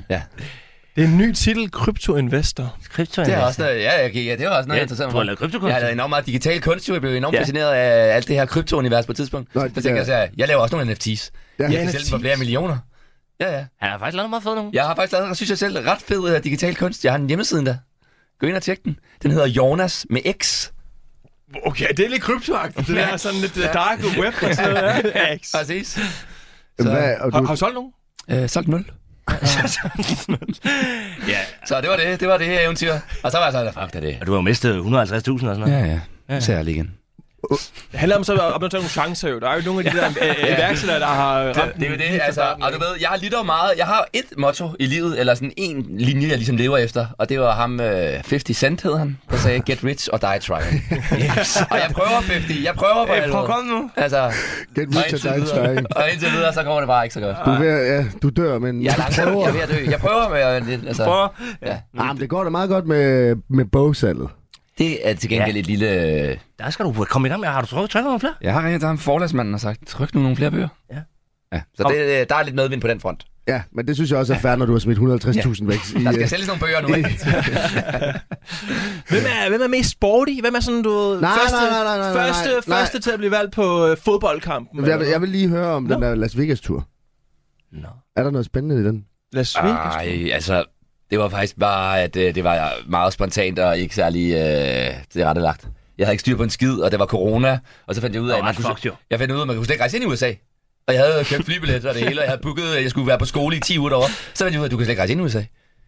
F: Det er en ny titel, kryptoinvestor.
C: kryptoen.
E: Det er også noget, ja, okay, ja, det var også noget,
C: Altså. Ja,
E: jeg interesserede
C: du har lavet kryptokunst.
E: Jeg har lavet enormt meget digital kunst, jo. jeg blev enormt
C: Ja.
E: ja. fascineret af alt det her kryptounivers på et tidspunkt.
D: Nå,
E: Nej, så
D: det
E: tænkte
D: der-
E: jeg, så, jeg, jeg laver også nogle NFT's.
D: Ja,
E: Jeg kan sælge dem for flere millioner. Ja, ja.
C: Han har faktisk lavet meget fedt nogen.
E: Jeg har faktisk lavet, synes jeg selv, ret fed øh, digital kunst. Jeg har en hjemmeside der. Gå ind og tjek den. Den hedder Jonas med X.
F: Okay, det er lidt kryptoagtigt. Det er sådan lidt øh, dark web og sådan noget. ja. X.
E: Præcis.
D: Jamen, Hvad, og du,
F: Har, har du solgt nogen?
E: Øh, solgt 0.
C: Ja,
E: Så det var det. Det var det her eventyr. Og så var jeg sådan, fuck det er det.
C: og du har jo mistet 150.000 og sådan noget.
E: Ja, ja. Så er jeg lige igen.
F: Det handler om så at opnå nogle chancer jo. Der er jo nogle af de der øh, iværksættere, der har ramt
E: Det er jo
F: den
E: det,
F: lige fra
E: altså,
F: starten
E: og du
F: af.
E: ved, jeg har lidt over meget, jeg har et motto i livet, eller sådan en linje, jeg ligesom lever efter, og det var ham, øh, 50 Cent hed han, der sagde, get rich or die trying. yes. Og jeg prøver 50, jeg prøver på
C: Prøv at
E: alvor.
C: komme nu.
E: Altså,
D: get
E: og
D: rich
E: indtil,
D: or die trying.
E: videre, og indtil videre, så kommer det bare ikke så godt.
D: Du, er ved, at- ja, du dør, men
E: Jeg er
D: du
E: langsomt,
D: prøver. Ah,
E: jeg er ved at dø. Jeg prøver med, øh, lidt, altså,
C: Prøv.
E: ja.
D: Jamen, det går da meget godt med, med bogsalget.
E: Det er til gengæld ja.
C: Ja.
E: et lille... øh,
C: Der skal du komme i gang med. Har du trykket trykket nogle flere?
E: Jeg har ringet til ham forlagsmanden og sagt, tryk nu nogle flere bøger.
C: Ja.
E: ja. Så
C: Kom.
E: det, øh, der er lidt medvind på den front.
D: Ja, men det synes jeg også er fair, når du har smidt 150.000 væk. I,
E: Der skal
D: øh,
E: sælges nogle bøger nu. ikke?
F: Hvem er, hvem er mest sporty? Hvem er sådan, du ved,
D: Nej,
F: første,
D: nej, nej, nej, nej, nej,
F: første,
D: nej.
F: første til at blive valgt på øh, fodboldkampen?
D: jeg, vil- jeg vil lige høre om
F: Nå.
D: den der Las Vegas-tur.
C: Nå.
D: Er der noget spændende i den?
F: Las
D: ah.
F: Vegas.
E: Ej, altså, det var faktisk bare, at øh, det var meget spontant og ikke særlig øh, tilrettelagt. Jeg havde ikke styr på en skid, og der var corona, og så fandt jeg ud af, at man
C: ret
E: kunne,
C: fucked jo.
E: jeg fandt ud af, at man kunne slet ikke rejse ind i USA. Og jeg havde købt flybilletter og det hele, og jeg havde booket, at jeg skulle være på skole i 10 uger derovre. Så fandt jeg ud af, at du kan slet ikke rejse ind i USA.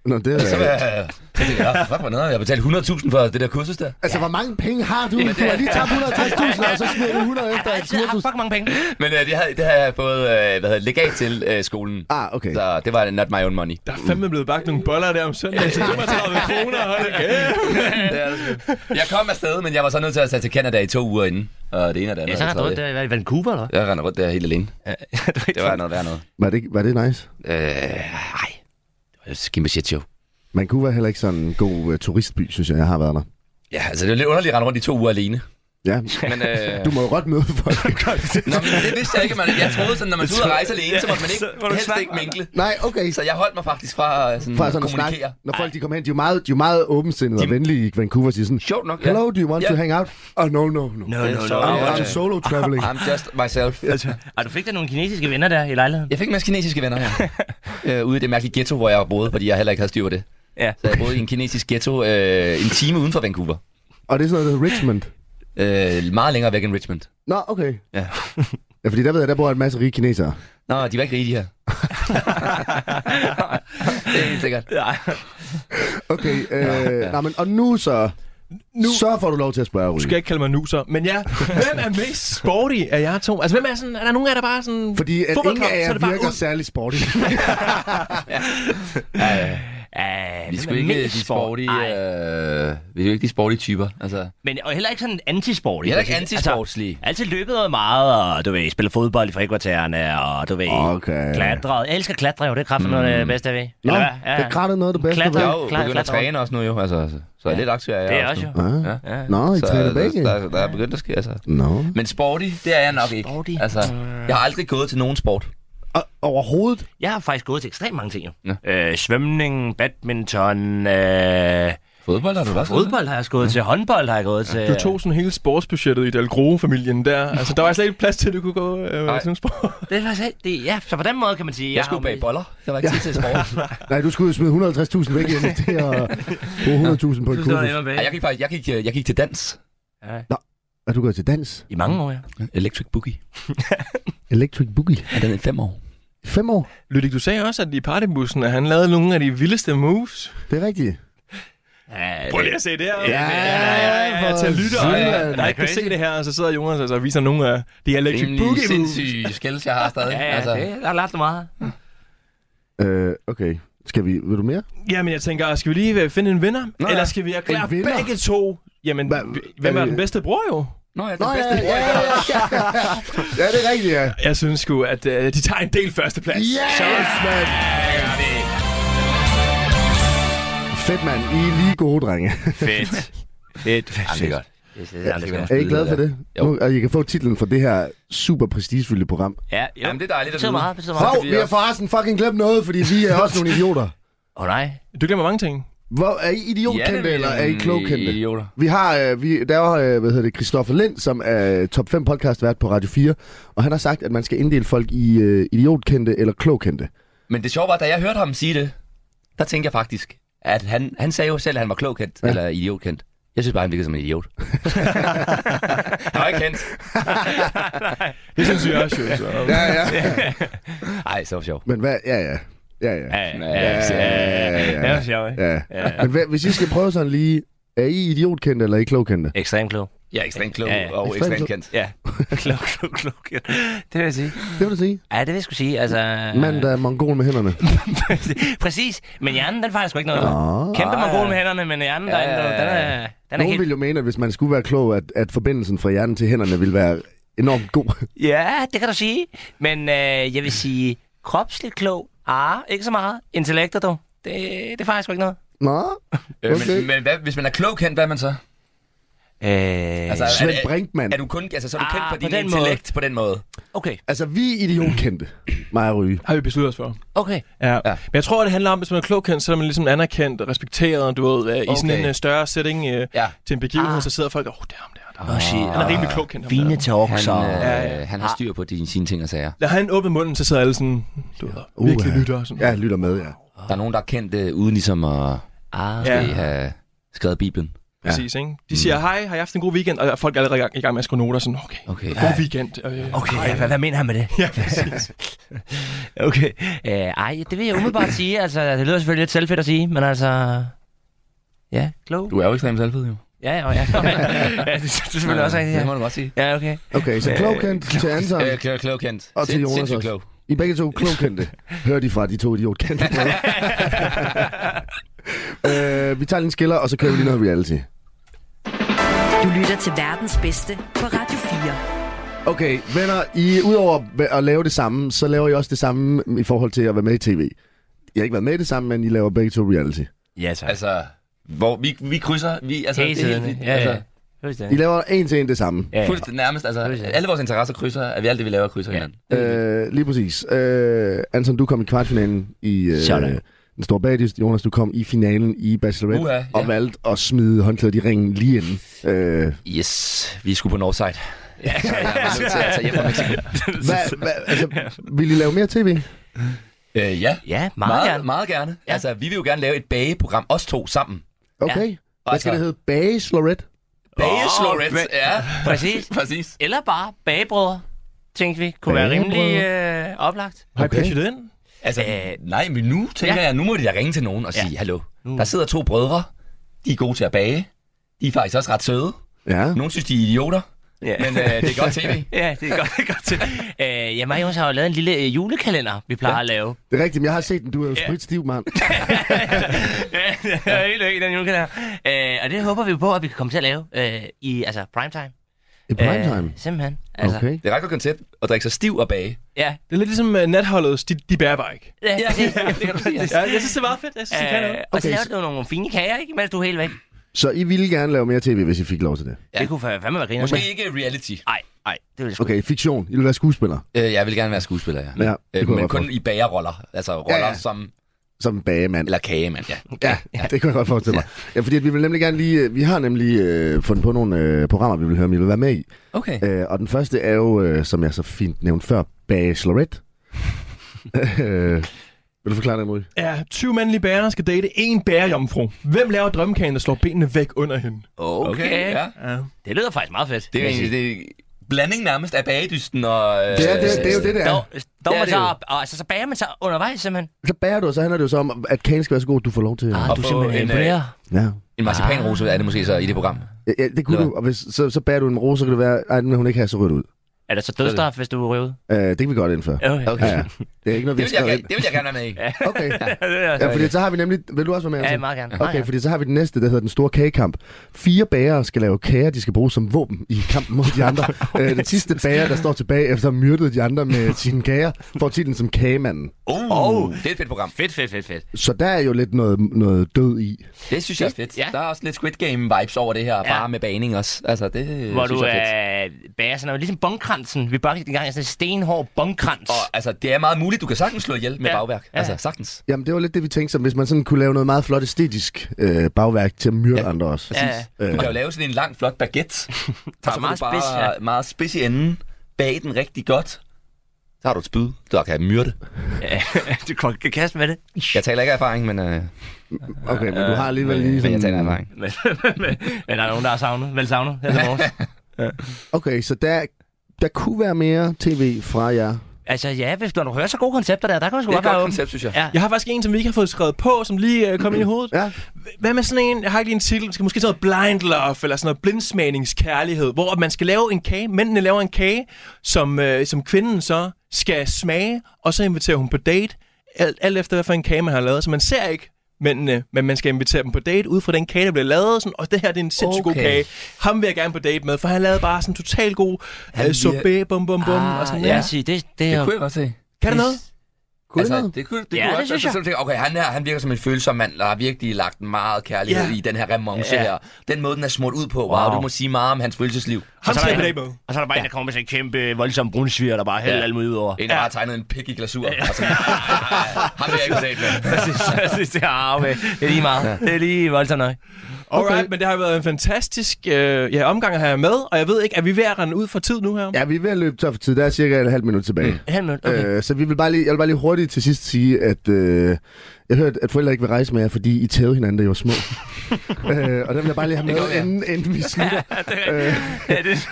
D: Nå, det
E: Så var
D: er...
E: jeg, så tænkte jeg, "Nå, fuck, hvor nederen. jeg betalte 100.000 for det der kursus der.
D: Altså, hvor mange penge har du? Du har lige tabt 150.000, og så smider du 100 efter et
C: Altså, jeg har
D: kursus.
C: fucking mange penge.
E: Men øh, det, havde, det havde jeg fået øh, hvad hedder, det, legat til øh, skolen.
D: Ah, okay.
E: Så det var not my own money.
F: Der er fandme blevet bagt nogle boller der om søndag til 35 kroner. Hold da kæft.
E: Jeg kom afsted, men jeg var så nødt til at tage til Canada i to uger inden. Og det ene og det andet.
C: Ja, så
E: og
C: har
E: det
C: du
E: tredje.
C: der i Vancouver, eller
E: Jeg render rundt der helt alene. Det var noget værd noget.
D: Var det, var det nice?
E: Øh, ej. Det var et kæmpe shit show.
D: Man kunne være heller ikke sådan en god uh, turistby, synes jeg, jeg har været der.
E: Ja, altså det er lidt underligt at rende rundt i to uger alene.
D: Ja,
E: Men, øh,
D: du må jo godt møde folk.
E: Nå, men det vidste jeg ikke, man. Jeg troede sådan, når man er ude og rejse alene, så måtte man ikke, helst ikke minkle.
D: Nej, okay.
E: Så jeg holdt mig faktisk fra, øh, sådan,
D: Fra sådan at snakke,
E: kommunikere.
D: når folk de kommer hen, de er jo meget, de er jo meget åbensindede og venlige i Vancouver, siger sådan,
E: Sjovt nok, ja.
D: Hello, do you want
E: Ja.
D: to hang out? Oh, no, no, no.
C: No, no,
E: no.
C: no.
D: I'm,
E: Ja.
D: I'm solo traveling.
E: I'm just myself.
C: Og du fik da nogle kinesiske venner der i lejligheden?
E: Jeg fik en masse kinesiske venner her. øh, ude i det mærkelige ghetto, hvor jeg boede, fordi jeg heller ikke havde styr på det.
C: Ja.
E: Så jeg boede i en kinesisk ghetto øh, en time uden for Vancouver.
D: Og det er sådan noget, der hedder Richmond.
E: Øh, meget længere væk end Richmond.
D: Nå, okay.
E: Ja.
D: Ja, fordi der ved jeg, der bor en masse rige kinesere.
E: Nå, de var ikke rige, de her. det er helt sikkert.
D: Okay, øh, ja, ja. Nå, men, og nu så, nu. så får du lov til at spørge, Rune.
F: Du skal ikke kalde mig nuser, men ja, hvem er mest sporty af jer to? Altså, hvem er sådan, er der nogen af jer, der bare er sådan...
D: Fordi at ingen
F: Fodboldkamp,
D: af
F: så er
D: jer
F: det bare
D: virker
F: ud.
D: særlig sporty.
C: Ja,
E: Vi er sgu ikke de sportige, øh, vi er jo ikke de sportige typer. Altså, vi
C: Men og heller ikke sådan antisportige.
E: er heller ikke
C: præcis.
E: antisportslige.
C: Altså, altid løbet meget, og du ved, spille fodbold i frikvartererne, og du ved,
D: Okay.
C: klatret. Jeg elsker at klatre, jo. Det er kraften noget af det bedste, jeg ved.
D: Nå,
C: Eller
D: ja,
C: hvad?
D: ja. det kratter noget af det bedste.
C: Klatre.
E: Jeg
D: Klar,
E: er jo
C: Klar,
E: begyndt at
C: klar,
E: træne også nu jo, altså, så- så jeg er lidt aktiv af jer.
C: Det er også jo.
D: ah.
E: Ja.
C: Ja.
D: Nå, I
E: Så,
D: træner
E: der,
D: begge.
E: der, der er begyndt at ske, altså.
D: Nå.
E: Men sporty, det er jeg nok ikke.
C: Sporty.
E: Altså, jeg har aldrig gået til nogen sport.
D: Og, overhovedet?
C: Jeg har faktisk gået til ekstremt mange ting,
E: Ja.
C: jo. Øh, svømning, badminton, øh,
E: Fodbold har du også?
C: fodbold har jeg også gået til, håndbold har jeg gået til.
F: Du tog sådan hele sportsbudgettet i Dalgrove-familien der. Altså, der var slet ikke plads til, at du kunne gå øh, til nogle sport.
C: Det er faktisk alt. det, ja, så på den måde kan man sige...
E: Jeg
C: har
E: skulle
C: jo-
E: bage boller. Der var ikke tid til sport.
D: Nej, du skulle jo smide 150.000 væk i det her, og bruge 100.000 på et
C: Du står
D: kursus.
C: hjemme bag.
E: Ej, jeg gik, faktisk, jeg, gik, øh, jeg gik til dans.
D: Er du gået til dans?
C: I mange år, ja.
E: Electric Boogie.
D: Electric Boogie.
E: Er den i fem år?
D: Fem år.
F: Lydik, du sagde også, at i partybussen, at han lavede nogle af de vildeste moves.
D: Det er rigtigt.
C: Ja,
F: Prøv lige at se det her.
D: Ja,
F: ja, ja,
D: for
F: til lytter,
D: søren.
F: der ikke kan se det her, og så sidder Jonas altså, og viser nogle af de electric
E: Rimelig
F: boogie moves.
E: sindssyge skills, jeg har stadig. Altså.
C: ja, ja, det, der er lært det meget.
D: Øh, okay. Skal vi... Vil du mere?
F: Jamen, jeg tænker, skal vi lige øh, finde en vinder?
E: Nå,
F: Nå,
E: ja.
F: Eller skal vi erklære
D: En vinder?
F: begge to? Jamen,
D: Hva-
F: hv- hvem
D: er
F: er
D: vi-
F: den bedste bror jo?
E: Nå, ja, det
D: Nå,
E: er bedste.
D: ja, ja, ja, ja. ja, det er rigtigt, ja.
F: Jeg synes sgu, at øh, de tager en del førsteplads.
D: Yes, mand! Fedt, mand. I er lige gode, drenge.
E: Fedt. Jamen, det er godt.
C: Det, det, det, det,
D: Er I glade for det?
E: Jo.
D: Nu, og I kan få titlen for det her super prestigefyldte program.
C: ja, jo.
E: Jamen, det er dejligt at
C: betyder
E: vide.
C: meget, betyder meget.
D: Hov,
E: vi
D: vi har
E: også-
D: forresten fucking glemt noget, fordi vi er også nogle idioter.
C: Åh oh, nej.
F: Du glemmer mange ting.
D: Hvor, er I idiotkendte,
E: Ja,
D: eller er I
E: nemlig
D: klogkendte?
E: Idioter.
D: Vi har, øh, vi, der var, øh, hvad hedder det, Christoffer Lind, som er top 5 podcast vært på Radio 4, og han har sagt, at man skal inddele folk i øh, idiotkendte eller klogkendte.
E: Men det sjove var, da jeg hørte ham sige det, der tænkte jeg faktisk, at han, han sagde jo selv, at han var klogkendt, ja. eller idiotkendt. Jeg synes bare, han virkede som en idiot. han var ikke kendt.
F: Det synes jeg også, jo. Så.
D: Ja, ja.
E: Ej, så var det sjovt.
D: Men hvad, ja, ja. Ja, ja.
C: Ja,
E: ja, ja,
D: ja, ja.
C: Det var sjovt, ikke?
D: ja. Men hvad, hvis I skal prøve sådan lige, er I idiotkendte eller er I klogkendte?
C: Ekstremt klog.
E: Jeg er ekstremt klog
C: Ja, ja.
E: og
D: Ekstremt
E: ekstremt
D: klog.
E: kendt.
C: Ja, klog, klog, klog. Det vil jeg sige.
D: Det vil du sige.
C: Ja, det vil jeg skulle sige. Altså,
D: Mand, der er mongol med hænderne.
C: Præcis. Men hjernen, den faktisk ikke noget.
D: Nå.
C: Kæmpe
E: Ah,
C: mongol med hænderne, men hjernen,
E: Ja,
C: der, den,
E: ja,
C: den
E: ja.
C: er, den er
D: Nogen
C: helt...
D: vil jo mene, at hvis man skulle være klog, at, at forbindelsen fra hjernen til hænderne ville være enormt god.
C: Ja, det kan du sige. Men øh, jeg vil sige, kropsligt klog. Ah, ikke så meget. Intellekter, dog. Det, det er faktisk ikke noget.
D: Nå,
E: Øh,
D: Okay.
E: men, men hvad, hvis man er klogkendt, hvad er man så?
C: Øh, altså,
E: er-
D: Svend
E: er-
D: Brinkmann.
E: Er du kun, altså, så er du kendt
C: Ah,
E: for
C: på
E: din
C: den
E: intellekt på den måde?
C: okay,
D: Altså, vi er idiotkendte, mig og Ryge.
F: Har vi besluttet os for.
C: okay.
F: Ja. ja. Men jeg tror, det handler om, hvis man er klogkendt, så er man ligesom anerkendt og respekteret, du ved, okay. i sådan
E: Okay.
F: en uh, større setting uh, ja.
E: Ja.
F: til en begivenhed, ah. så sidder folk og, åh, oh, det er ham der. der.
C: Nå, shit.
F: Han er rimelig klogkendt. ham
C: Fine
F: der.
C: talk,
E: Han,
C: så.
E: øh,
C: Ja.
E: han har styr på dine, sine ting og sager.
F: Lad han åbne munden, så sidder alle sådan, du ved, virkelig
D: Uha.
F: lytter. og Sådan.
D: Ja, jeg lytter med, ja.
E: Der er nogen, der er kendt øh, uden ligesom at
C: Ah,
F: Ja.
E: ja. have skrevet Bibelen.
F: Præcis, ikke? De siger, hej, har jeg haft en god weekend? Og folk er allerede i gang- i gang med at skrive noter, sådan, okay,
E: Okay.
F: god weekend. Øh,
C: Okay, ja, hvad, hvad mener han med det? Ja, præcis. okay. Øh, ej, det vil jeg umiddelbart sige. Altså, det lyder selvfølgelig lidt selvfedt at sige, men altså... Ja, klog.
E: Du er jo ekstremt selvfed, jo.
C: Ja, ja, ja. ja det, det er selvfølgelig også rigtigt,
E: Det
C: ja.
E: må du godt sige.
C: Ja, okay.
D: Okay, så klogkendt til Anton.
E: Øh, klog, klog kendt.
D: Og til
E: Sind-
D: Jonas
E: sindssygt
D: også.
E: klog.
D: I er begge to klogkendte. Hører de fra de to idiotkendte. øh, vi tager lige en skiller, og så kører vi lige noget reality.
B: Du lytter til verdens bedste på Radio 4.
D: Okay, venner, I, udover at lave det samme, så laver I også det samme i forhold til at være med i tv. Jeg har ikke været med i det samme, men I laver begge to reality.
C: Ja, tak.
E: Altså, hvor vi, vi krydser, vi, altså,
C: Hele
E: det er helt
C: tiden.
E: vildt.
C: Ja, ja.
E: Altså,
D: I laver en til en det samme.
C: Ja, ja.
E: fuldstændig nærmest, altså,
C: Ja.
E: alle vores interesser krydser, at vi alt det, vi laver, krydser hinanden.
D: Øh, lige præcis. Øh, Anton, du kom i kvartfinalen i øh,
C: Sådan.
D: den store bagdyst. Jonas, du kom i finalen i Bachelorette
E: Uha, ja.
D: og valgte at smide håndklædet i ringen lige inden. Øh,
E: Yes, vi skulle på Northside. Ja, så jeg er nødt til at tage hjem fra Mexico.
D: hvad, hvad, altså, vil I lave mere tv?
E: Øh, ja,
C: Ja, meget,
E: meget,
C: gerne.
E: meget gerne. Ja. Altså, vi vil jo gerne lave et bageprogram, os to sammen.
D: Okay. Ja. Hvad skal
E: Altså-
D: det hedde? Bachelorette?
E: Bageslorets,
C: hvad-
E: ja,
C: Præcis.
E: præcis.
C: Eller bare bagebrødre, tænkte vi, kunne være rimelig øh, oplagt.
F: Har I
D: Okay.
F: pitchet ind?
E: Altså,
C: Øh,
E: nej, men nu tænker
C: ja.
E: ja. jeg, nu må de da ringe til nogen og sige,
C: Ja.
E: hallo, der sidder to brødre, de er gode til at bage, de er faktisk også ret søde,
D: Ja.
E: nogen synes, de er idioter,
C: Ja.
E: men øh, det er godt tv.
C: Ja, det er godt, det er godt til. Øh, ja, mig og Jonas har jo lavet en lille øh, julekalender, vi plejer ja. at lave.
D: Det er rigtigt, men jeg har set den. Du er jo spritstiv, mand.
C: ja, det er helt i den julekalender. Øh, og det håber vi på, at vi kan komme til at lave øh, i altså primetime.
D: I primetime.
C: Øh, simpelthen. Altså,
D: Okay.
E: Det er et ret godt koncept at drikke sig stiv og bage.
C: Ja,
F: Det er lidt ligesom uh, natholdets, de, de bærer bare ikke.
C: ja, præcis.
E: det kan du sige.
F: Ja, jeg synes, det er meget fedt. Jeg synes, det kan
C: Øh,
F: noget.
C: og så
D: Okay,
C: laver
D: så-
C: du nogle fine kager, ikke? Mens du er helt væk.
D: Så I ville gerne lave mere tv, hvis I fik lov til det?
C: Ja. Det kunne fa- fandme være griner.
E: Måske ikke reality.
C: Nej, nej, det ville jeg sgu
D: Okay, fiktion. I vil være skuespiller,
E: Øh, jeg vil gerne være skuespiller, ja.
D: Ja, det
E: øh,
D: kunne jeg
E: men
D: godt
E: kun
D: forstå.
E: i bagerroller. Altså roller
D: Ja,
E: ja,
D: ja.
E: ja. som...
D: som bagemand.
E: Eller kagemand, ja.
D: Ja, det kunne jeg godt forestille mig. Ja, fordi at vi vil nemlig gerne lige... Vi har nemlig øh, fundet på nogle øh, programmer, vi vil høre, om I vil være med i.
E: Okay.
D: Øh, og den første er jo, øh, som jeg så fint nævnte før, Bachelorette. øh, vil du forklare den, Marie?
F: Ja, 20 mandlige bærere skal date en bærejomfru. Hvem laver drømmekagen, der slår benene væk under hende?
E: Okay.
C: Okay.
E: okay. Ja.
F: Ja.
C: Det lyder faktisk meget fedt.
E: Det er, egentlig, det er blanding nærmest af bagedysten og... Øh,
D: Det er, det, det er jo det, der.
C: Dog, øh, dog
E: Det er
C: man
E: det
C: så,
E: jo.
C: op, og, altså, så bager man så undervejs, simpelthen.
D: Så bærer du, og så handler det jo så om, at kagen skal være så god, at du får lov til...
C: Ah,
E: Og
C: du
E: få
C: simpelthen
E: en, øh,
C: imponerer.
D: Ja.
E: En marcipanrose er det måske så i det program.
D: Ja, ja, det kunne
E: Nå.
D: du. Og hvis, så, så bærer du en rose, så kan det være, at den vil hun ikke have så rødt ud.
C: Er der så dødstraf, hvis du er røvet?
D: Øh, det kan vi godt indføre.
C: Okay.
D: Ja, ja. Det er ikke noget, vi
E: Det
D: har
E: vil,
D: skrevet
E: jeg,
D: ind.
E: gerne- det vil jeg gerne være med i.
D: Okay.
C: ja,
D: Ja, fordi så har vi nemlig... Vil du også være med?
C: Ja,
D: Anton?
C: meget gerne. Meget
D: Okay,
C: gerne.
D: fordi så har vi den næste, der hedder Den Store Kagekamp. Fire bager skal lave kager, de skal bruge som våben i kampen mod de andre. Øh, den sidste bager, der står tilbage efter at have myrdet de andre med sine kager, får titlen som kagemanden.
E: Oh, oh. Det er et fedt program.
C: Fedt, fedt, fedt, fedt.
D: Så der er jo lidt noget, noget død i.
E: Det synes jeg er fedt.
C: Ja.
E: Ja. Der er også lidt Squid Game-vibes over det her, ja. bare med baning også. Altså, det øh,
C: Hvor
E: synes
C: du
E: jeg er fedt.
C: er bager sådan noget, ligesom bongkransen. Vi bagte engang sådan en stenhård bongkrans.
E: Og altså, det er meget muligt, du kan sagtens slå ihjel med
C: Ja.
E: ja. bagværk.
C: Ja.
E: Altså, sagtens.
D: Jamen, det var lidt det, vi tænkte, som hvis man sådan kunne lave noget meget flot æstetisk øh, bagværk til at myrde ja.
E: Ja.
D: andre også.
C: Ja, ja.
E: Du
D: Øh,
E: kan jo lave sådan en lang, flot baguette.
C: er
E: Der er
C: meget
E: meget
C: spids,
E: bare
C: ja.
E: meget spids i enden. Bag den rigtig godt. Så har du et spyd, der kan myrde.
C: du kan- kan kaste med det.
E: Jeg taler ikke af erfaring, men, øh,
D: okay, men du har alligevel lige
E: men
D: sådan...
E: jeg taler af erfaring.
C: Men, men- men der er nogen, der har savnet. Vel savnet her til morges.
D: Okay, så der, der kunne være mere tv fra jer.
C: Altså ja, hvis du, når du hører så gode koncepter der, der kan man sgu
E: Det er
C: godt
E: et godt
C: være åben.
E: koncept, synes jeg.
C: Ja.
F: Jeg har faktisk en, som vi ikke har fået skrevet på, som lige øh, kom ind i hovedet.
D: Ja.
F: Hvad med sådan en, jeg har ikke lige en titel, skal måske sådan noget blind love, eller sådan noget blindsmagningskærlighed, hvor man skal lave en kage, mændene laver en kage, som, øh, som kvinden så skal smage, og så inviterer hun på date, alt, alt efter hvad for en kage man har lavet, så man ser ikke mændene, men man skal invitere dem på date ud fra den kage, der bliver lavet, sådan, og det her det er en sindssygt okay. god
E: Okay.
F: kage, ham vil jeg gerne på date med, for han lavede bare sådan total god øh, sorbet, bum bum bum, og sådan
C: Ah, ja,
F: ja.
C: sig, det, det, det
E: Det
C: er
E: kunne jeg godt se.
F: Kan det noget?
D: Kunne
E: altså,
D: noget?
E: det kunne, det
C: Ja,
E: kunne
C: det
E: også,
C: synes
E: altså,
C: jeg.
E: så tænker, okay, han, her, han virker som en følsom mand, der har virkelig lagt meget kærlighed
F: Ja.
E: i den her remonce
C: Ja.
E: her. Den måde, den er smurt ud på, wow,
C: Wow.
E: du må sige meget om hans følelsesliv.
F: Ham
C: så
F: skal
C: er der
F: vi
C: en-
F: med.
C: Og så er der bare en, der kommer med sådan en kæmpe, voldsom brunsviger, der bare hælder
E: Ja.
C: alt muligt ud over.
E: En, der har tegnet en pik i glasur. Altså, nej, nej, nej, nej. Ham vil jeg ikke set med.
C: Præcis, præcis, det er arme. Det er lige meget. Det er lige voldsomt nok.
F: Alright, okay. men det har jo været en fantastisk øh, ja, omgang at have jer med, og jeg ved ikke, er vi ved at rende ud for tid nu her?
D: Ja, vi er ved at løbe tør for tid. Der er cirka et halvt minut tilbage.
C: Han mødte, okay.
D: Okay. Øh, så vi vil bare lige, jeg vil bare lige hurtigt til sidst sige, at øh, jeg hørte, at forældre ikke vil rejse med jer, fordi I tævede hinanden, da I var små. øh, og det vil jeg bare lige have med, inden, inden vi slutter.
C: Ja, det,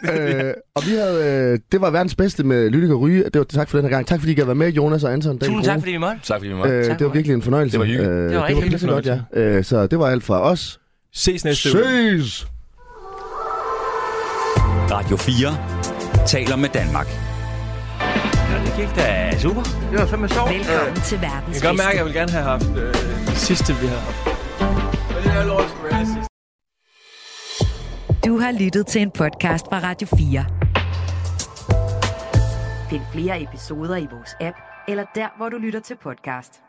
C: det,
D: øh, og vi havde, øh, det var verdens bedste med Lydik og Ryge. Det var tak for den her gang. Tak fordi I gad være med, Jonas og Anton.
C: Tusind tak, fordi vi måtte.
E: Tak fordi vi måtte.
D: Øh,
C: Tak
D: det var
C: for
D: virkelig en fornøjelse.
E: Det var hyggeligt.
D: Øh, det var,
C: rigtig
D: virkelig godt, ja. Øh, så det var alt fra os.
F: Ses næste uge.
D: Ses!
A: Radio 4 taler med Danmark.
C: Det gik da super. Det var fandme sjovt.
B: Velkommen til verdens
F: Jeg kan godt mærke,
B: bedste.
F: at jeg vil gerne have haft øh, det sidste, vi har haft. Men det er lort, som jeg sidst.
B: Du har lyttet til en podcast fra Radio 4. Find flere episoder i vores app, eller der, hvor du lytter til podcast.